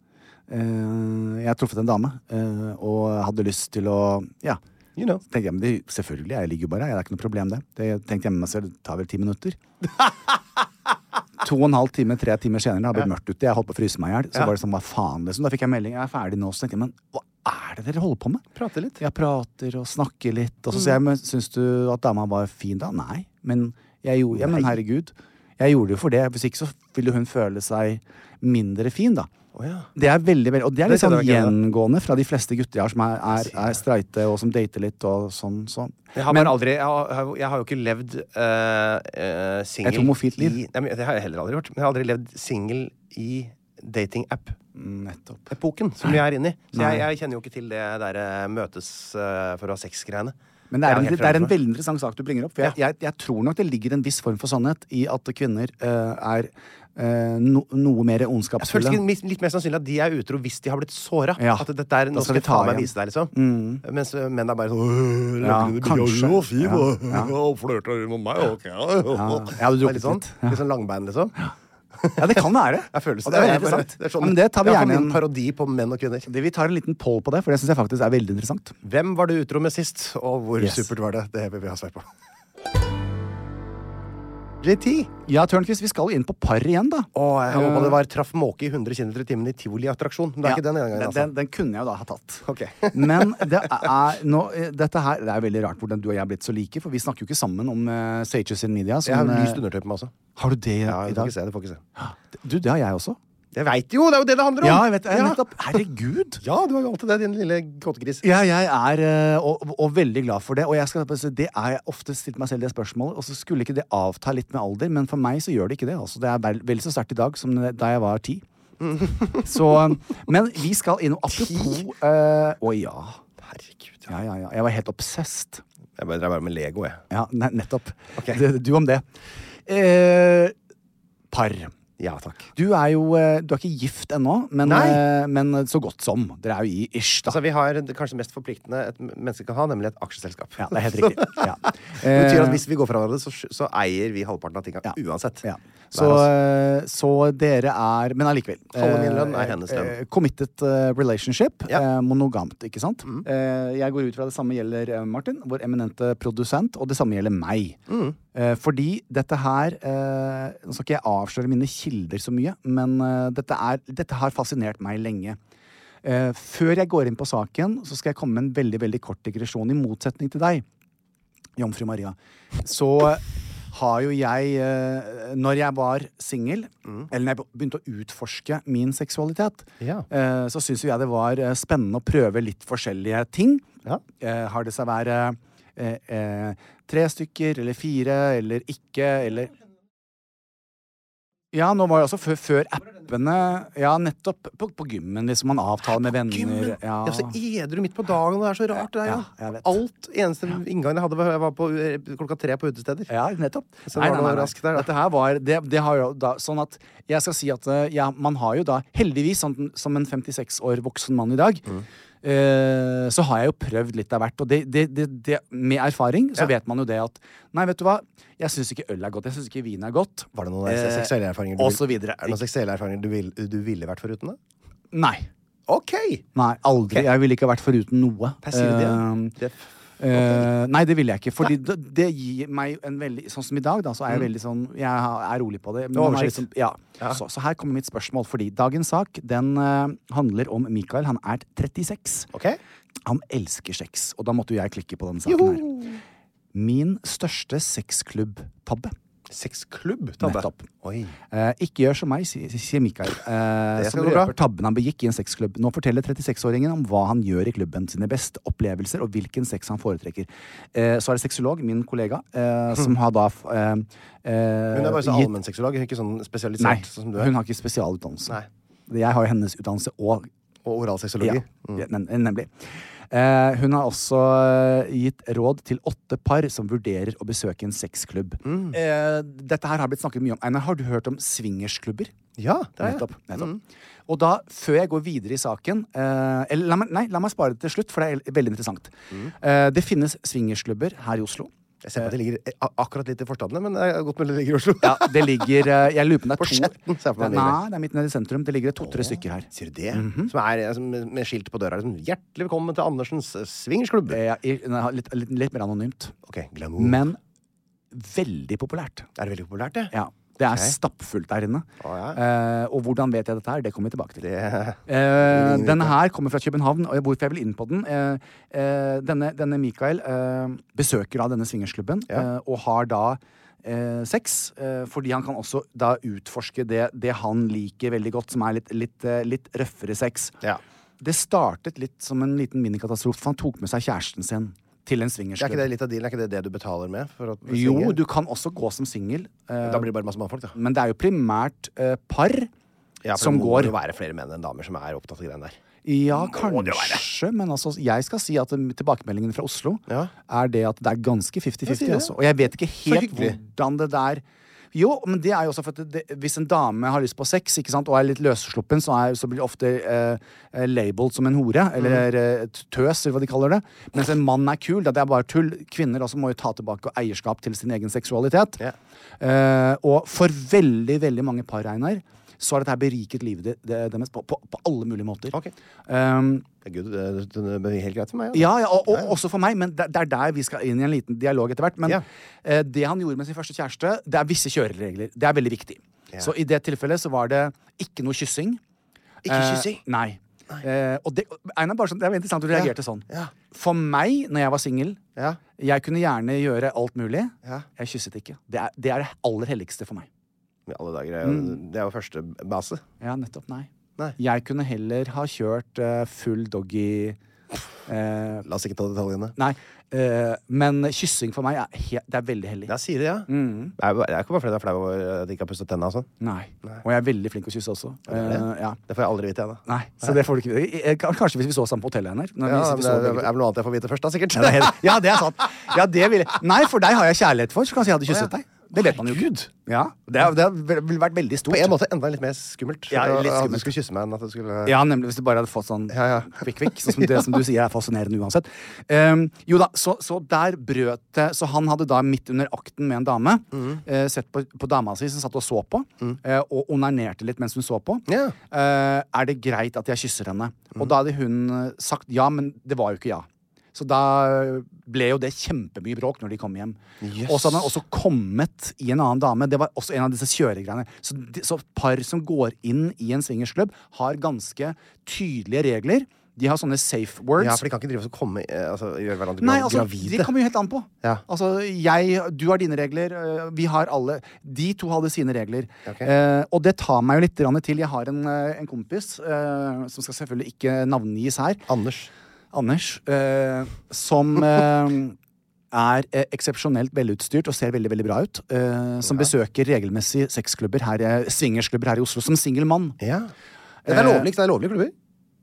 Speaker 2: Eh, jeg har truffet en dame, eh, og hadde lyst til å Ja.
Speaker 3: You know.
Speaker 2: tenkte jeg, men det, Selvfølgelig, jeg ligger jo bare her. Det er ikke noe problem, det. det tenkte jeg med meg selv, det tar vel ti minutter. To og en halv time, tre timer senere, det har blitt mørkt ute, jeg holdt på å fryse meg i hjel. Så var det sånn, hva faen, liksom. Da fikk jeg melding, jeg er ferdig nå. Så tenkte jeg, men hva er det dere holder på med?
Speaker 3: Prate litt. Mm.
Speaker 2: Jeg prater og snakker litt. Og så sier jeg, men syns du at dama var fin da? Nei. Men jeg gjorde Ja, men herregud. Jeg gjorde det jo for det. Hvis ikke så ville hun føle seg mindre fin, da.
Speaker 3: Å ja.
Speaker 2: Det er veldig, veldig, og det er
Speaker 3: Det
Speaker 2: litt sånn
Speaker 3: kjenner jeg ikke
Speaker 2: gjengående fra de fleste gutter jeg har som er, er, er streite og som dater litt og sånn. sånn.
Speaker 3: Jeg har,
Speaker 2: Men-
Speaker 3: bare aldri, jeg, har, jeg har jo ikke levd eh, eh, singel
Speaker 2: Et homofilt liv.
Speaker 3: i- Nei, men Det har jeg heller aldri gjort. Men jeg har aldri levd singel i datingapp-epoken
Speaker 2: Nettopp.
Speaker 3: som vi er inne i. Så jeg,
Speaker 2: Nei.
Speaker 3: jeg kjenner jo ikke til det der eh, møtes eh, for å ha sex-greiene.
Speaker 2: Men det er, en, det er en
Speaker 3: helt fremmed for meg.
Speaker 2: veldig interessant sak du bringer opp. For jeg, jeg, jeg tror nok det ligger en viss form for sannhet i at kvinner eh, er eh, no, noe mer
Speaker 3: Jeg føler
Speaker 2: ondskapsfulle.
Speaker 3: sikkert mis- litt mer sannsynlig at de er utro hvis de har blitt såra.
Speaker 2: Ja.
Speaker 3: At dette er,
Speaker 2: Da
Speaker 3: nå
Speaker 2: skal
Speaker 3: skal
Speaker 2: vi
Speaker 3: jeg ta
Speaker 2: ta
Speaker 3: meg
Speaker 2: igjen. Mm.
Speaker 3: vise deg, liksom. Mens øh, menn er bare sånn «Øh,
Speaker 2: Ja,
Speaker 3: lagde det
Speaker 2: kanskje.
Speaker 3: billig, og fin,
Speaker 2: Ja,
Speaker 3: og-
Speaker 2: ja.
Speaker 3: og flørta med meg, ok. Ja,
Speaker 2: jeg hadde drukket
Speaker 3: litt. Sånn,
Speaker 2: litt, ja.
Speaker 3: Litt sånn langbein, liksom.
Speaker 2: Ja, det kan være.
Speaker 3: Jeg føler
Speaker 2: Og det er veldig
Speaker 3: bare-
Speaker 2: interessant.
Speaker 3: Det er sånn,
Speaker 2: Ja, men det tar vi
Speaker 3: jeg har
Speaker 2: gjerne
Speaker 3: min
Speaker 2: en-
Speaker 3: parodi på menn og kvinner.
Speaker 2: Det, vi tar en liten poll på det, for det syns jeg faktisk er veldig interessant.
Speaker 3: Hvem var du utro med sist, og hvor
Speaker 2: Yes.
Speaker 3: supert var det? Det vil vi ha svar på. JT.
Speaker 2: Ja, Tørnquist, vi skal jo inn på par igjen, da.
Speaker 3: Å, jeg håpa det var traff måke i 100 km i timen i tivoliattraksjon. Men det er
Speaker 2: Ja,
Speaker 3: ikke den ene gangen, altså.
Speaker 2: Den, den kunne jeg jo da ha tatt.
Speaker 3: Ok.
Speaker 2: Men det er, nå, eh, dette her Det er veldig rart hvordan du og jeg er blitt så like, for vi snakker jo ikke sammen om uh, Sages in Media.
Speaker 3: Jeg har
Speaker 2: som, eh,
Speaker 3: lyst undertøy på meg også.
Speaker 2: har du det
Speaker 3: Ja,
Speaker 2: i
Speaker 3: du får
Speaker 2: dag?
Speaker 3: ikke se. Du får ikke se.
Speaker 2: Du, det har jeg også.
Speaker 3: Jeg veit jo! Det er jo det det handler om!
Speaker 2: Ja, jeg vet, jeg,
Speaker 3: Ja.
Speaker 2: nettopp. Herregud!
Speaker 3: Ja, du har jo alltid det, din lille kåtegris.
Speaker 2: Ja, jeg er eh, og, og veldig glad for det. Og jeg skal, bare si, det er jeg ofte stilt meg selv det spørsmålet, og så skulle ikke det avta litt med alder, men for meg så gjør det ikke det. Altså. Det er vel, vel så sterkt i dag som da jeg var ti. Så, eh, men vi skal innom Apropos eh, Å ja.
Speaker 3: Herregud.
Speaker 2: Ja, ja, ja. Jeg var helt obsessed.
Speaker 3: Jeg bare dreiv bare med Lego, jeg.
Speaker 2: Ja, ne nettopp.
Speaker 3: Ok.
Speaker 2: Det- Du om det. Eh, par.
Speaker 3: Ja takk.
Speaker 2: Du er jo eh, Du er ikke gift ennå, men,
Speaker 3: Nei.
Speaker 2: eh, men så godt som. Dere er jo i ish, da.
Speaker 3: Altså, vi har det kanskje mest forpliktende et menneske kan ha, nemlig et aksjeselskap.
Speaker 2: Ja, det er helt riktig. Ja.
Speaker 3: Det betyr at
Speaker 2: Eh,
Speaker 3: hvis vi går fra hverandre, så, så eier vi halvparten av tinga uansett.
Speaker 2: Ja.
Speaker 3: Det
Speaker 2: Så,
Speaker 3: er altså-
Speaker 2: eh, så dere er Men allikevel.
Speaker 3: Halve min lønn er
Speaker 2: eh,
Speaker 3: hennes lønn.
Speaker 2: eh, Committed eh, relationship.
Speaker 3: Ja.
Speaker 2: eh, Monogamt, ikke sant? Eh, Jeg går ut fra det samme gjelder eh, Martin, vår eminente produsent, og det samme gjelder meg. Eh, Fordi dette her eh, Nå skal ikke jeg avsløre mine kilder så mye, men eh, dette, er, dette har fascinert meg lenge. Eh, Før jeg går inn på saken, så skal jeg komme med en veldig, veldig kort digresjon, i motsetning til deg. Jomfru Maria, så eh, har jo jeg eh, Når jeg var singel, eller når jeg begynte å utforske min seksualitet,
Speaker 3: Ja.
Speaker 2: eh, så syns jo jeg det var eh, spennende å prøve litt forskjellige ting.
Speaker 3: Ja.
Speaker 2: Eh, Har det seg være eh, eh, tre stykker eller fire eller ikke eller ja, nå var det altså før, før appene Ja, nettopp på, på gymmen, liksom. Man avtaler med venner.
Speaker 3: Gymmen! Ja. så edru midt på dagen, og det er så rart, det der,
Speaker 2: Ja,
Speaker 3: ja.
Speaker 2: jeg vet.
Speaker 3: Alt eneste inngangen jeg hadde, var, var på eh, klokka tre på utesteder.
Speaker 2: Ja, nettopp.
Speaker 3: Så det var noe raskt der, da.
Speaker 2: Dette her var det, det har jo da, Sånn at jeg skal si at eh, ja, man har jo da, heldigvis, sånn, som en 56 år voksen mann i dag,
Speaker 3: Mm.
Speaker 2: eh, så har jeg jo prøvd litt av hvert. Og det, det, det, det, med erfaring så
Speaker 3: Ja.
Speaker 2: vet man jo det at Nei, vet du hva, jeg syns ikke øl er godt. Jeg syns ikke vin er godt.
Speaker 3: Var det noen eh, seksuelle erfaringer
Speaker 2: og
Speaker 3: vil-
Speaker 2: så videre.
Speaker 3: Er det noen seksuelle erfaringer du, vil, du ville vært foruten? da?
Speaker 2: Nei.
Speaker 3: OK!
Speaker 2: Nei, aldri.
Speaker 3: Ok.
Speaker 2: Jeg ville ikke vært foruten noe.
Speaker 3: Der sier du det.
Speaker 2: Eh,
Speaker 3: det.
Speaker 2: Eh, nei, det ville jeg ikke. Fordi det, det gir meg en veldig Sånn som i dag, da, så er jeg veldig sånn Jeg er rolig på det. men man er liksom-
Speaker 3: Oversikt.
Speaker 2: ja. Så, så her kommer mitt spørsmål. Fordi dagens sak den eh, handler om Mikael. Han er 36.
Speaker 3: OK?
Speaker 2: Han elsker sex. Og da måtte jo jeg klikke på denne saken her. Min største sexklubb-tabbe.
Speaker 3: Sexklubb, Tabbe.
Speaker 2: Nettopp.
Speaker 3: Oi.
Speaker 2: Eh, ikke gjør som meg, sier si, sier Mikael, eh,
Speaker 3: Det skal
Speaker 2: som
Speaker 3: gå bra.
Speaker 2: røper tabben han begikk i en sexklubb. Nå forteller 36-åringen om hva han gjør i klubben, sine beste opplevelser og hvilken sex han foretrekker. Eh, så er det sexolog, min kollega, eh, som har da f- eh, eh,
Speaker 3: Hun er bare så
Speaker 2: gitt-
Speaker 3: allmennseksolog, ikke sånn spesialisert
Speaker 2: Nei,
Speaker 3: sånn som du er.
Speaker 2: hun har ikke spesialutdannelse.
Speaker 3: Nei.
Speaker 2: Jeg har jo hennes utdannelse og
Speaker 3: Og oralseksologi.
Speaker 2: ja, ja, nem- nemlig. Eh, hun har også eh, gitt råd til åtte par som vurderer å besøke en sexklubb.
Speaker 3: Mm.
Speaker 2: Eh, dette her har blitt snakket mye om. Einar, har du hørt om swingersklubber?
Speaker 3: Ja, det har jeg.
Speaker 2: nettopp. nettopp. Mm. Og da, før jeg går videre i saken eh, eller, la meg, Nei, la meg spare det til slutt, for det er veldig interessant.
Speaker 3: Mm.
Speaker 2: Eh, det finnes swingersklubber her i Oslo.
Speaker 3: Jeg ser på at det ligger eh, a- akkurat litt i forstadene, men det er godt mulig det ligger i Oslo.
Speaker 2: Eh. Ja, det ligger eh, Jeg lurer på om det
Speaker 3: På
Speaker 2: er to
Speaker 3: Skjetten, ser jeg for meg,
Speaker 2: Nei, det er midt nede i sentrum. Det ligger to-tre stykker her. Mhm.
Speaker 3: Sier du det? Som er eh, som, med skilt på døra. Liksom, 'Hjertelig velkommen til Andersens eh, swingersklubb'.
Speaker 2: Eh, i- nei, litt, litt, litt mer anonymt.
Speaker 3: Ok, glamour.
Speaker 2: Men veldig populært.
Speaker 3: Er det veldig populært, det?
Speaker 2: Ja. Det er
Speaker 3: Ok.
Speaker 2: stappfullt der inne.
Speaker 3: Å,
Speaker 2: Eh, og hvordan vet jeg dette her? Det kommer vi tilbake til.
Speaker 3: Det-
Speaker 2: Eh, denne her kommer fra København, og hvorfor jeg vil inn på den eh, eh, Denne, denne Mikael eh, besøker da denne swingersklubben,
Speaker 3: Ja.
Speaker 2: eh, og har da eh, sex. Eh, fordi han kan også da utforske det, det han liker veldig godt, som er litt, litt, eh, litt røffere sex.
Speaker 3: Ja.
Speaker 2: Det startet litt som en liten minikatastrofe, for han tok med seg kjæresten sin til en
Speaker 3: Er ikke
Speaker 2: swingersklubb.
Speaker 3: det litt av dealen? Er ikke det det du betaler med? For å bli
Speaker 2: Jo,
Speaker 3: singel?
Speaker 2: du kan også gå som singel, eh,
Speaker 3: Da blir det bare masse mannfolk, da.
Speaker 2: men det er jo primært eh, par.
Speaker 3: Ja, for
Speaker 2: Som
Speaker 3: det må
Speaker 2: går.
Speaker 3: jo være flere menn enn damer som er opptatt av greiene der.
Speaker 2: Ja,
Speaker 3: Må det jo være.
Speaker 2: kanskje, men altså, jeg skal si at um, tilbakemeldingen fra Oslo
Speaker 3: Ja.
Speaker 2: er det at det er ganske 50-50.
Speaker 3: sier det.
Speaker 2: Altså. Og jeg vet ikke helt
Speaker 3: hyggelig.
Speaker 2: hvordan det der Jo, men det er jo også for at det, hvis en dame har lyst på sex ikke sant, og er litt løssluppen, så, er, så blir det ofte eh, eh, labeled som en hore,
Speaker 3: Mm.
Speaker 2: eller eh, tøs, eller hva de kaller det. Mens en mann er kul. Da, det er bare tull. Kvinner også må jo ta tilbake eierskap til sin egen seksualitet.
Speaker 3: Ja.
Speaker 2: Eh, og for veldig, veldig mange par, Einar, så har dette her beriket livet de- de- deres på, på, på alle mulige måter.
Speaker 3: Ok.
Speaker 2: Um,
Speaker 3: Det er good, det, det, det er helt greit for meg. altså.
Speaker 2: ja, ja, og, og også for meg, men det, det er der vi skal inn i en liten dialog etter hvert. Men
Speaker 3: Ja.
Speaker 2: eh, det han gjorde med sin første kjæreste, det er visse kjøreregler. Det er veldig viktig. Så i det tilfellet så var det ikke noe kyssing.
Speaker 3: Ikke kyssing?
Speaker 2: Eh, nei. Eh, og det, Einar, bare sånn, det er veldig interessant at du reagerte sånn. For meg, når jeg var singel,
Speaker 3: Ja.
Speaker 2: jeg kunne gjerne gjøre alt mulig.
Speaker 3: Ja.
Speaker 2: Jeg kysset ikke. Det er, det er det aller helligste for meg.
Speaker 3: I alle dager. det er jo-
Speaker 2: Mm.
Speaker 3: Det er jo første base.
Speaker 2: Ja, nettopp. Nei.
Speaker 3: Nei.
Speaker 2: Jeg kunne heller ha kjørt eh, full doggy eh,
Speaker 3: La oss ikke ta detaljene.
Speaker 2: Nei. eh, men kyssing for meg er, he det er veldig hellig.
Speaker 3: Ja, sier det, ja.
Speaker 2: Mm.
Speaker 3: Det, er, det er ikke bare fordi det er flau over at de ikke har pusset tenna og sånn.
Speaker 2: Nei. Og jeg er veldig flink til å kysse også. Eh, ja.
Speaker 3: Det får jeg aldri vite, jeg, da.
Speaker 2: Nei, så det får du ikke eh, eh, Kanskje hvis vi så sammen på hotellet, Einar. når vi
Speaker 3: Ja,
Speaker 2: sitter
Speaker 3: men
Speaker 2: så
Speaker 3: det
Speaker 2: begge
Speaker 3: er vel noe annet jeg får vite først, da, sikkert.
Speaker 2: Ja, det er helt- Ja, det er sant. Ja, det vil jeg. Nei, for deg har jeg kjærlighet for, så kanskje jeg hadde kysset deg. Det vet man jo ikke. Ja, det har- det har vel- vel vært veldig stort.
Speaker 3: På en måte enda litt mer skummelt.
Speaker 2: Ja, litt
Speaker 3: At
Speaker 2: skummelt.
Speaker 3: du skulle kysse meg enn at du skulle
Speaker 2: Ja, nemlig hvis du bare hadde fått sånn
Speaker 3: Ja, ja.
Speaker 2: kvikk-kvikk. Sånn som det som du sier er fascinerende uansett. Ehm, jo da, så, så der brøt det Så han hadde da midt under akten med en dame
Speaker 3: Mm.
Speaker 2: eh, sett på, på dama si som satt og så på, eh, og onanerte litt mens hun så på.
Speaker 3: Ja.
Speaker 2: Eh, er det greit at jeg kysser henne? Og da hadde hun eh, sagt ja, men det var jo ikke ja. Så da eh, ble jo det kjempemye bråk når de kom hjem. Og så hadde han også kommet i en annen dame. Det var også en av disse kjøregreiene. Så, de- så par som går inn i en swingersklubb, har ganske tydelige regler. De har sånne safe words.
Speaker 3: Ja, for de kan ikke drive og så komme, eh, altså, gjøre hverandre
Speaker 2: Nei,
Speaker 3: gra-
Speaker 2: altså,
Speaker 3: gravide.
Speaker 2: Det kommer jo helt an på.
Speaker 3: Ja.
Speaker 2: Altså, jeg, Du har dine regler, øh, vi har alle De to hadde sine regler.
Speaker 3: Ok.
Speaker 2: Eh, og det tar meg jo litt grann til. Jeg har en, eh, en kompis, eh, som skal selvfølgelig ikke navngis her,
Speaker 3: Anders.
Speaker 2: Anders, eh, som eh, er eh, eksepsjonelt velutstyrt og ser veldig veldig bra ut. Eh, som besøker regelmessig sexklubber, her, eh, swingersklubber her i Oslo, som singel mann.
Speaker 3: Ja.
Speaker 2: Eh.
Speaker 3: Det er lovlig, det er lovlige klubber.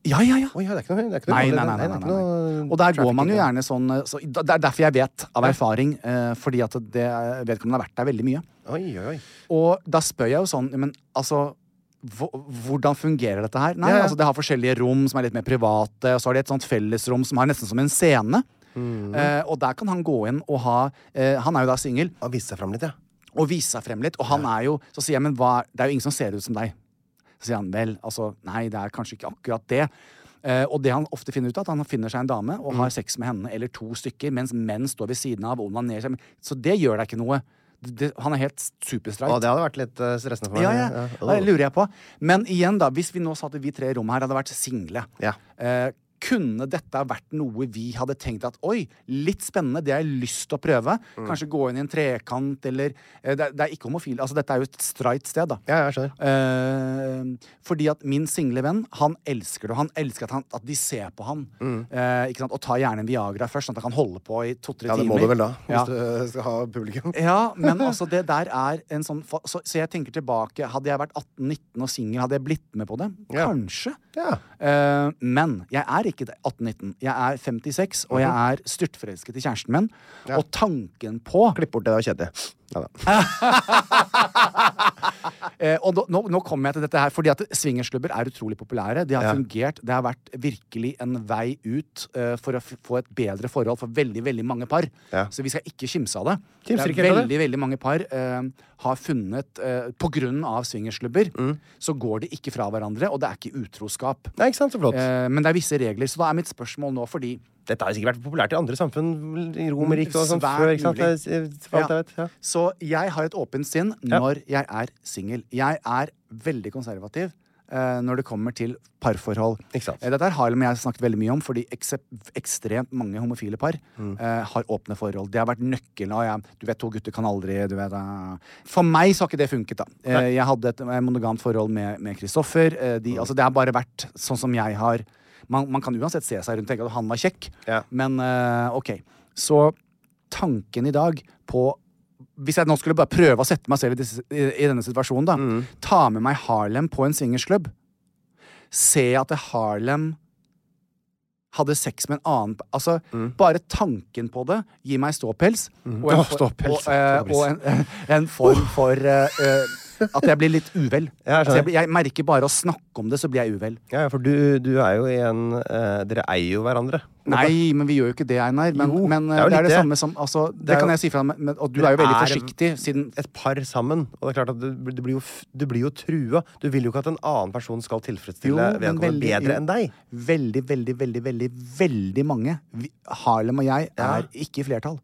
Speaker 2: Ja, ja, ja.
Speaker 3: Oi, ja, det er ikke noe, det er ikke noe
Speaker 2: Nei, nei, nei,
Speaker 3: det er-
Speaker 2: nei,
Speaker 3: det er
Speaker 2: nei,
Speaker 3: ikke
Speaker 2: nei.
Speaker 3: noe
Speaker 2: Og der går
Speaker 3: trafficking,
Speaker 2: man jo
Speaker 3: ja.
Speaker 2: gjerne sånn eh, så, da- Det er derfor jeg vet av erfaring, eh, fordi at det, vedkommende har vært der veldig mye.
Speaker 3: Oi, oi, oi.
Speaker 2: Og da spør jeg jo sånn Men altså hvo- hvordan fungerer dette her? Nei,
Speaker 3: Ja, ja.
Speaker 2: altså Det har forskjellige rom som er litt mer private. Og så har de et sånt fellesrom som har nesten som en scene.
Speaker 3: Mm.
Speaker 2: Eh, og der kan han gå inn og ha eh, Han er jo da singel
Speaker 3: Han viste seg fram litt, ja.
Speaker 2: og vise seg frem litt. Og han er jo, så sier jeg, men hva, er- det er jo ingen som ser ut som deg. Så sier han, vel, altså, nei, det er kanskje ikke akkurat det. Eh, og det han ofte finner ut av, at han finner seg en dame og
Speaker 3: Mm.
Speaker 2: har sex med henne, eller to stykker, mens menn står ved siden av og onanerer seg. Så det gjør deg ikke noe. Det, det, han er helt superstreit.
Speaker 3: Å, det hadde vært litt eh, stressende for meg.
Speaker 2: Ja, ja.
Speaker 3: Ja.
Speaker 2: Det lurer jeg på. Men igjen, da, hvis vi nå satt vi tre i rommet her, hadde vært single.
Speaker 3: Ja.
Speaker 2: Eh, kunne dette ha vært noe vi hadde tenkt at oi, litt spennende, det har jeg lyst til å prøve?
Speaker 3: Mm.
Speaker 2: Kanskje gå inn i en trekant, eller eh, det, er, det er ikke homofil. Altså, dette er jo et streit sted, da.
Speaker 3: Ja, jeg skjønner.
Speaker 2: Eh, fordi at min single venn, han elsker det. og Han elsker at, han, at de ser på han.
Speaker 3: Mm.
Speaker 2: Eh, ikke sant? Og tar gjerne en Viagra først, sånn at han kan holde på i to-tre
Speaker 3: Ja,
Speaker 2: timer.
Speaker 3: det må du vel da, hvis
Speaker 2: Ja.
Speaker 3: du eh, skal ha publikum.
Speaker 2: Ja, men altså, det der er en sånn fa- Så, så jeg tenker tilbake. Hadde jeg vært 18-19 og singel, hadde jeg blitt med på det?
Speaker 3: Ja.
Speaker 2: Kanskje.
Speaker 3: Ja.
Speaker 2: Eh, men jeg er ikke det, 18-19. Jeg er 56, og jeg
Speaker 3: Mhm.
Speaker 2: er styrtforelsket i kjæresten min. Og tanken på
Speaker 3: Klipp bort det, det var kjedelig. Ja, da.
Speaker 2: Eh, og nå, nå, nå kommer jeg til dette her, fordi at swingersklubber er utrolig populære. De har
Speaker 3: Ja.
Speaker 2: fungert. Det har vært virkelig en vei ut eh, for å f få et bedre forhold for veldig veldig mange par.
Speaker 3: Ja.
Speaker 2: Så vi skal ikke kimse av det.
Speaker 3: Kimser
Speaker 2: det
Speaker 3: ikke
Speaker 2: er
Speaker 3: helt av
Speaker 2: veldig veldig mange par eh, har funnet eh, På grunn av swingersklubber
Speaker 3: Mm.
Speaker 2: så går de ikke fra hverandre, og det er ikke utroskap.
Speaker 3: Nei, ikke sant, så flott.
Speaker 2: Eh, men det er visse regler, så da er mitt spørsmål nå fordi
Speaker 3: Dette har jo sikkert vært populært i andre samfunn, i Romerriket og sånt
Speaker 2: Svært
Speaker 3: før, ikke sant?
Speaker 2: mulig.
Speaker 3: Det er- for alt jeg vet. Ja.
Speaker 2: Så jeg har et åpent sinn når jeg er singel. Jeg er veldig konservativ. eh, når det kommer til parforhold.
Speaker 3: Ikke sant.
Speaker 2: Eh, Dette her har Harlem og jeg snakket veldig mye om, fordi eksep- ekstremt mange homofile par eh, har åpne forhold. Det har vært nøkkelen. Og jeg, du vet, to gutter kan aldri du vet, eh. For meg så har ikke det funket. da. Eh, jeg hadde et eh, monogamt forhold med med Kristoffer. Eh, de, altså, det har bare vært sånn som jeg har Man, man kan uansett se seg rundt og tenke at han var kjekk,
Speaker 3: Ja.
Speaker 2: men eh, OK. Så tanken i dag på hvis jeg nå skulle bare prøve å sette meg selv i, disse, i, i denne situasjonen, da.
Speaker 3: Mm.
Speaker 2: Ta med meg Harlem på en swingersklubb. Se at det Harlem hadde sex med en annen Altså, bare tanken på det gir meg ståpels. Og
Speaker 3: Mm. Åh,
Speaker 2: for-
Speaker 3: ståpels.
Speaker 2: Og, eh, og en, en form for eh, eh, at jeg blir litt uvel.
Speaker 3: Ja, jeg skjønner.
Speaker 2: altså, jeg, blir- jeg merker bare å snakke om det, så blir jeg uvel.
Speaker 3: Ja, for du, du er jo i en eh, Dere eier jo hverandre.
Speaker 2: Nei, men vi gjør jo ikke det, Einar. Men,
Speaker 3: Jo,
Speaker 2: men
Speaker 3: det
Speaker 2: eh,
Speaker 3: er jo
Speaker 2: det er
Speaker 3: litt
Speaker 2: det,
Speaker 3: det.
Speaker 2: samme som altså, Det,
Speaker 3: er jo-
Speaker 2: kan jeg si fra deg, men- og du
Speaker 3: Det
Speaker 2: er jo veldig
Speaker 3: er-
Speaker 2: forsiktig, siden
Speaker 3: Et par sammen. Og det er klart at du, du, blir, jo, f- du blir jo trua. Du vil jo ikke at en annen person skal tilfredsstille
Speaker 2: men
Speaker 3: vedkommende
Speaker 2: veldig-
Speaker 3: bedre
Speaker 2: jo,
Speaker 3: enn deg.
Speaker 2: Veldig, veldig, veldig, veldig veldig mange. Vi, Harlem og jeg er ikke i flertall.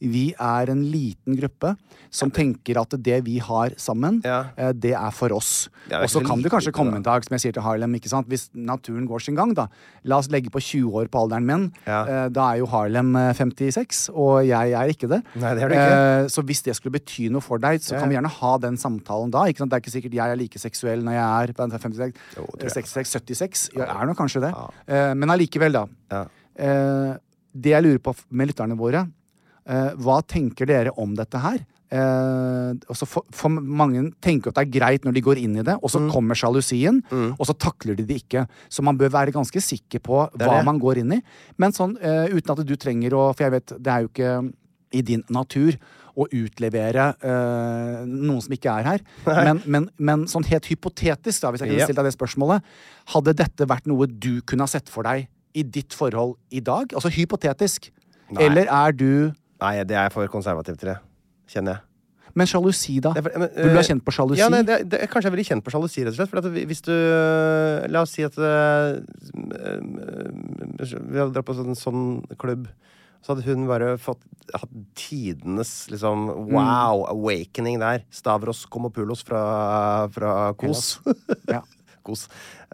Speaker 2: Vi er en liten gruppe som tenker at det vi har sammen,
Speaker 3: Ja.
Speaker 2: eh, det er for oss.
Speaker 3: Det er
Speaker 2: Og så
Speaker 3: veldig
Speaker 2: kan det kanskje
Speaker 3: lite,
Speaker 2: komme
Speaker 3: da.
Speaker 2: en dag, som jeg sier til Harlem, ikke sant? hvis naturen går sin gang, da. La oss legge på 20 år på alderen min.
Speaker 3: Ja.
Speaker 2: Eh, Da er jo Harlem eh, 56, og jeg er ikke det.
Speaker 3: Nei, det er du ikke.
Speaker 2: Eh, Så hvis det skulle bety noe for deg, så kan vi gjerne ha den samtalen da. Ikke sant? Det er ikke sikkert jeg er like seksuell når jeg er 56,
Speaker 3: Jo, det tror jeg.
Speaker 2: 66, 76. Jeg er nok kanskje det. Eh, Men allikevel, da.
Speaker 3: Ja.
Speaker 2: Eh, Det jeg lurer på f- med lytterne våre, eh, hva tenker dere om dette her? Eh, også for, for mange tenker at det er greit når de går inn i det, og så
Speaker 3: Mm.
Speaker 2: kommer sjalusien, og så takler de det ikke. Så man bør være ganske sikker på
Speaker 3: er
Speaker 2: hva
Speaker 3: det.
Speaker 2: man går inn i. Men sånn, eh, uten at du trenger å For jeg vet, det er jo ikke i din natur å utlevere eh, noen som ikke er her. Men, men, men sånn helt hypotetisk, da, hvis jeg kunne
Speaker 3: Ja.
Speaker 2: stilt deg det spørsmålet Hadde dette vært noe du kunne ha sett for deg i ditt forhold i dag? Altså hypotetisk.
Speaker 3: Nei.
Speaker 2: Eller er du
Speaker 3: Nei, det er for konservativt til det. Kjenner jeg.
Speaker 2: Men sjalusi, da?
Speaker 3: Det er for- men,
Speaker 2: Vil du ha
Speaker 3: eh,
Speaker 2: kjent på sjalusi?
Speaker 3: Ja, nei, det, det, kanskje jeg er veldig kjent på sjalusi, rett og slett. For at vi- hvis du La oss si at eh, Vi hadde dratt på en sånn, sånn klubb. Så hadde hun bare fått hatt tidenes liksom,
Speaker 2: Mm.
Speaker 3: wow awakening der. Stavros Komopoulos fra, fra KOS.
Speaker 2: Ja.
Speaker 3: Kos.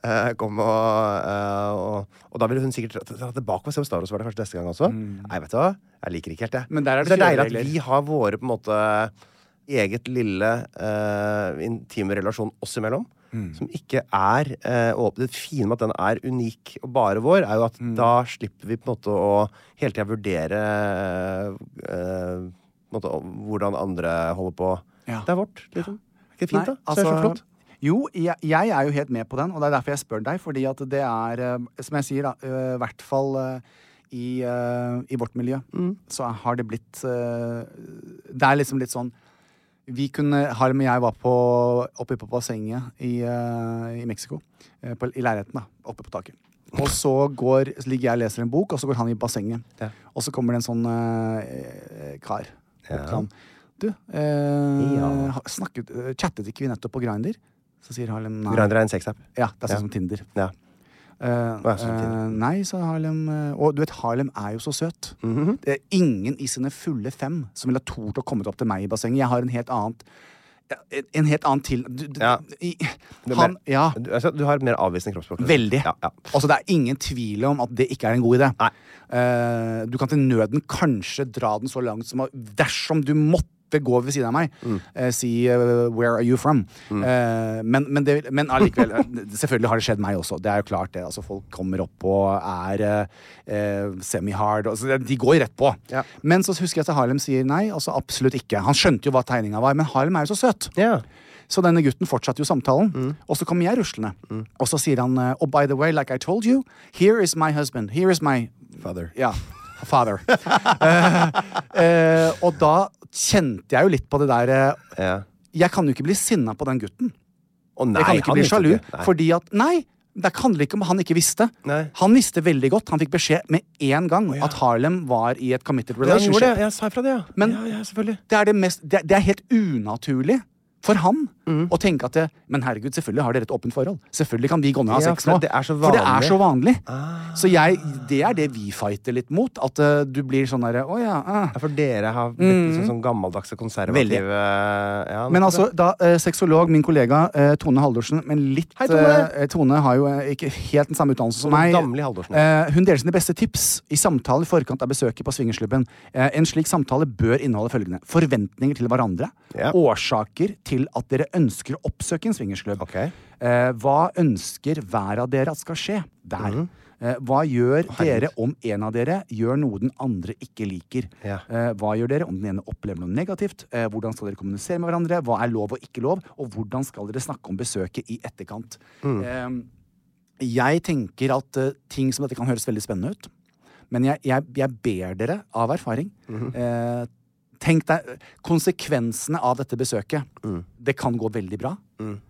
Speaker 3: Eh, kom og, eh, og, og da ville hun sikkert dra tilbake og se om Stavros var der kanskje neste gang også. Nei, vet du hva? Jeg liker ikke helt det.
Speaker 2: Mm. Men der er det
Speaker 3: det er deilig at
Speaker 2: kjøreregler.
Speaker 3: vi har våre på en måte eget lille eh, intime relasjon oss imellom.
Speaker 2: Mm.
Speaker 3: Som ikke er eh, åp- Det fine med at den er unik og bare vår, er jo at
Speaker 2: Mm.
Speaker 3: da slipper vi på en måte å hele tida vurdere eh, eh, på en måte, hvordan andre holder på.
Speaker 2: Ja.
Speaker 3: Det er vårt, liksom. Er ikke det fint,
Speaker 2: Nei, altså,
Speaker 3: da? Så det er så flott.
Speaker 2: Jo, jeg, jeg er jo helt med på den, og det er derfor jeg spør deg. Fordi at det er, eh, som jeg sier, da, i hvert fall eh, i, eh, i vårt miljø,
Speaker 3: Mm.
Speaker 2: så har det blitt eh, Det er liksom litt sånn vi kunne, Harlem og jeg var på, oppe på bassenget i, eh, i Mexico. eh, på, I leiligheten, da. Oppe på taket. Og så går, så ligger jeg og leser en bok, og så går han i bassenget.
Speaker 3: Ja.
Speaker 2: Og så kommer det en sånn eh, kar opp til ham. Du, eh,
Speaker 3: Ja.
Speaker 2: ha- snakket, eh, chattet ikke vi nettopp på Grinder? Så sier Harlem nei.
Speaker 3: Grindr er en sexapp.
Speaker 2: Ja, det er sånn
Speaker 3: Ja.
Speaker 2: som Tinder.
Speaker 3: Ja.
Speaker 2: Eh,
Speaker 3: er sånn
Speaker 2: eh,
Speaker 3: Tinder.
Speaker 2: nei, sa Harlem. eh, Og du vet, Harlem er jo så søt.
Speaker 3: Mhm.
Speaker 2: Det er ingen i sine fulle fem som ville ha tort å komme opp til meg i bassenget. Jeg har en helt annet en- En helt annen til... Du, du,
Speaker 3: Ja.
Speaker 2: i,
Speaker 3: Du er
Speaker 2: han,
Speaker 3: mer-
Speaker 2: ja.
Speaker 3: Du, altså, du har et mer avvisende kroppsspråk. liksom.
Speaker 2: Veldig.
Speaker 3: Ja, ja.
Speaker 2: Altså, det er ingen tvil om at det ikke er en god idé.
Speaker 3: Nei.
Speaker 2: Eh, du kan til nøden kanskje dra den så langt som at dersom du måtte gå ved siden av meg,
Speaker 3: Mm.
Speaker 2: eh, si eh, 'where are you from'? Eh, men, men, det, men allikevel eh, Selvfølgelig har det skjedd meg også. Det er jo klart det. Altså, folk kommer opp og er eh, eh, semi-hard. Altså, det- de går rett på.
Speaker 3: Ja.
Speaker 2: Men så husker jeg at Harlem sier nei. Altså, absolutt ikke. Han skjønte jo hva tegninga var, men Harlem er jo så søt.
Speaker 3: Ja.
Speaker 2: Så denne gutten fortsatte jo samtalen,
Speaker 3: Mm.
Speaker 2: og så kommer jeg ruslende. Og så sier han eh, Oh, by the way, like I told you, here is my husband. Here is my
Speaker 3: Father.
Speaker 2: Ja, father. Eh, eh, og da kjente jeg jo litt på det der eh,
Speaker 3: Ja.
Speaker 2: Jeg kan jo ikke bli sinna på den gutten.
Speaker 3: Å, nei,
Speaker 2: jeg kan ikke
Speaker 3: han
Speaker 2: bli
Speaker 3: visste
Speaker 2: sjalu.
Speaker 3: ikke. Nei.
Speaker 2: Fordi at Nei! Det handler ikke om han ikke visste.
Speaker 3: Nei.
Speaker 2: Han visste veldig godt. Han fikk beskjed med en gang at Harlem var i et committed
Speaker 3: Ja, han gjorde
Speaker 2: relationship.
Speaker 3: det. Jeg sa ifra det, ja.
Speaker 2: Men-
Speaker 3: ja, ja selvfølgelig.
Speaker 2: Det er, det, mest, det, det er helt unaturlig for han
Speaker 3: Mm.
Speaker 2: å tenke at det, Men herregud, selvfølgelig har dere et åpent forhold. Selvfølgelig kan vi gå ned og ha
Speaker 3: Ja,
Speaker 2: sex
Speaker 3: for
Speaker 2: nå.
Speaker 3: det er så
Speaker 2: For det er så vanlig.
Speaker 3: Ah.
Speaker 2: Så jeg, det er det vi fighter litt mot. At eh, du blir sånn derre Å ja. ah».
Speaker 3: Ja, for dere har blitt litt sånn, sånn gammeldagse
Speaker 2: Veldig.
Speaker 3: konservative ja,
Speaker 2: Men altså, da, eh, sexolog, min kollega eh, Tone Haldorsen Men litt
Speaker 3: Hei, Tone!
Speaker 2: eh, Tone har jo eh, ikke helt den samme utdannelse som meg.
Speaker 3: Damli Haldorsen.
Speaker 2: Eh, hun deler sine beste tips i samtaler i forkant av besøket på Swingersklubben. Eh, en slik samtale bør inneholde følgende forventninger til hverandre.
Speaker 3: Ja.
Speaker 2: Årsaker til at dere ønsker å oppsøke en swingersklubb.
Speaker 3: Ok.
Speaker 2: Eh, hva ønsker hver av dere at skal skje der?
Speaker 3: Mhm.
Speaker 2: Eh, hva gjør dere om en av dere gjør noe den andre ikke liker?
Speaker 3: Ja.
Speaker 2: Eh, hva gjør dere om den ene opplever noe negativt? Eh, hvordan skal dere kommunisere med hverandre? Hva er lov og ikke lov? Og hvordan skal dere snakke om besøket i etterkant? Eh, jeg tenker at eh, ting som dette kan høres veldig spennende ut. Men jeg, jeg, jeg ber dere av erfaring
Speaker 3: Mhm.
Speaker 2: eh, Tenk deg konsekvensene av dette besøket.
Speaker 3: Mm.
Speaker 2: Det kan gå veldig bra,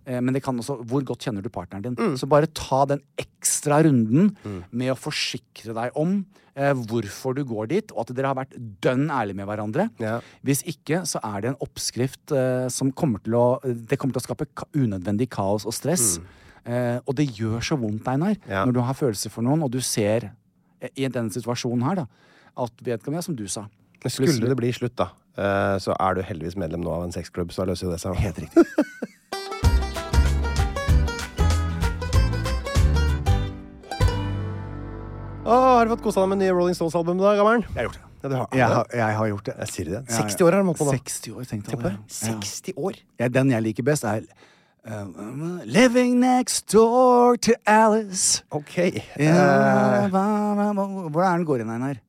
Speaker 2: eh, men det kan også Hvor godt kjenner du partneren din?
Speaker 3: Mm.
Speaker 2: Så bare ta den ekstra runden med å forsikre deg om eh, hvorfor du går dit, og at dere har vært dønn ærlige med hverandre.
Speaker 3: Ja.
Speaker 2: Hvis ikke, så er det en oppskrift eh, som kommer til å Det kommer til å skape ka unødvendig kaos og stress. Eh, og det gjør så vondt, Einar,
Speaker 3: Mm. Ja.
Speaker 2: når du har følelser for noen, og du ser eh, i denne situasjonen her, da, at vedkommende er som du sa.
Speaker 3: Skulle det bli slutt, da, eh, så er du heldigvis medlem nå av en sexklubb, så da løser jo det seg.
Speaker 2: Helt riktig.
Speaker 3: Å, har du fått kosa deg med nye Rolling Stones-album, da, gammelen?
Speaker 2: Jeg har gjort det.
Speaker 3: Ja, du har.
Speaker 2: Jeg har, jeg har gjort det.
Speaker 3: Jeg sier det.
Speaker 2: Ja, ja.
Speaker 3: 60 år har de holdt på nå.
Speaker 2: 60 år, tenkte jeg. det. Ja.
Speaker 3: 60 år?
Speaker 2: Ja, den jeg liker best, er uh, Living next door to Alice.
Speaker 3: Ok.
Speaker 2: Ja,
Speaker 3: Eh,
Speaker 2: hva- hva- hva- Hvordan er den går inn, Einar?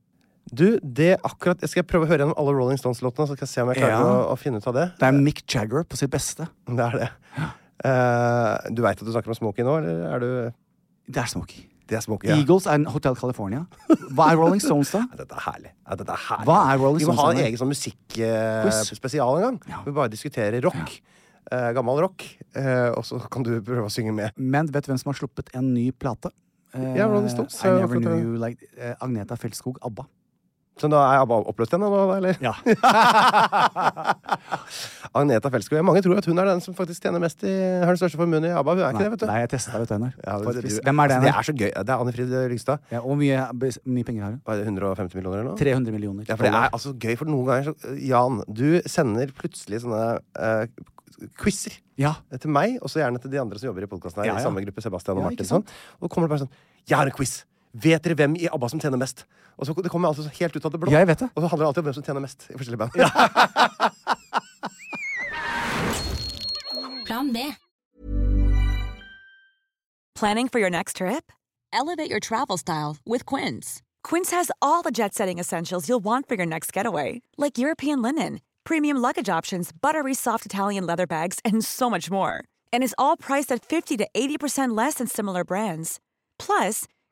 Speaker 3: du, det akkurat Jeg skal prøve å høre gjennom alle Rolling Stones-låtene, så skal jeg se om jeg klarer
Speaker 2: Ja.
Speaker 3: å, å finne ut av det.
Speaker 2: Det er Mick Jagger på sitt beste.
Speaker 3: Det er det. Eh, du veit at du snakker om Smokey nå, eller er du
Speaker 2: Det er Smokey.
Speaker 3: Det er Smokey,
Speaker 2: Eagles er en Hotel California. Hva er Rolling Stones, da?
Speaker 3: Ja, dette er herlig. Ja, dette er herlig.
Speaker 2: Hva er Rolling
Speaker 3: Vi må ha en
Speaker 2: Stones-anlegg?
Speaker 3: egen sånn musikkspesial
Speaker 2: Quiz.
Speaker 3: eh, spesial en gang.
Speaker 2: Ja.
Speaker 3: Vi bare diskuterer rock. Eh, gammel rock. Eh, og så kan du prøve å synge med.
Speaker 2: Men vet du hvem som har sluppet en ny plate? Eh,
Speaker 3: Ja, Rolling Stones.
Speaker 2: I never
Speaker 3: Jeg har fått
Speaker 2: knew
Speaker 3: det.
Speaker 2: you like eh, Agneta Feltskog, ABBA.
Speaker 3: Så da er jeg bare oppløst igjen, da, nå, da, eller?
Speaker 2: Ja.
Speaker 3: Agneta Felskog. Mange tror at hun er den som faktisk tjener mest i Har den største formuen i ABBA. Hun er
Speaker 2: Nei,
Speaker 3: ikke det, vet du.
Speaker 2: nei, jeg testa deg, vet du, Einar.
Speaker 3: Ja,
Speaker 2: For-
Speaker 3: det-
Speaker 2: Hvem er det?
Speaker 3: altså, det
Speaker 2: Einar?
Speaker 3: er så gøy. Det er Anne Frid Lyngstad.
Speaker 2: Ja, hvor mye, hvor mye penger har hun?
Speaker 3: Hva er det, 150 millioner eller noe?
Speaker 2: 300 millioner.
Speaker 3: Ja, for det er altså gøy, for noen ganger så eh, Jan, du sender plutselig sånne eh, quizer.
Speaker 2: Ja.
Speaker 3: til meg, og så gjerne til de andre som jobber i podkasten her.
Speaker 2: Ja, ja.
Speaker 3: I samme gruppe, Sebastian og
Speaker 2: Ja, ikke
Speaker 3: Martin. Sånn. Og da kommer det bare sånn Jeg har en quiz! Vet dere hvem i ABBA som tjener mest? Og så det kommer altså så helt ut av det blå.
Speaker 2: Jeg vet det.
Speaker 3: Og så handler det alltid om hvem som tjener mest i forskjellige band.
Speaker 4: Plan B.
Speaker 5: Planning for your next trip?
Speaker 4: Elevate your travel style with Quince.
Speaker 5: Quince has all the jet setting essentials you'll want for your next getaway, like European linen, premium luggage options, buttery soft Italian leather bags, and so much more. And is all priced at 50 to 80% less than similar brands. Plus,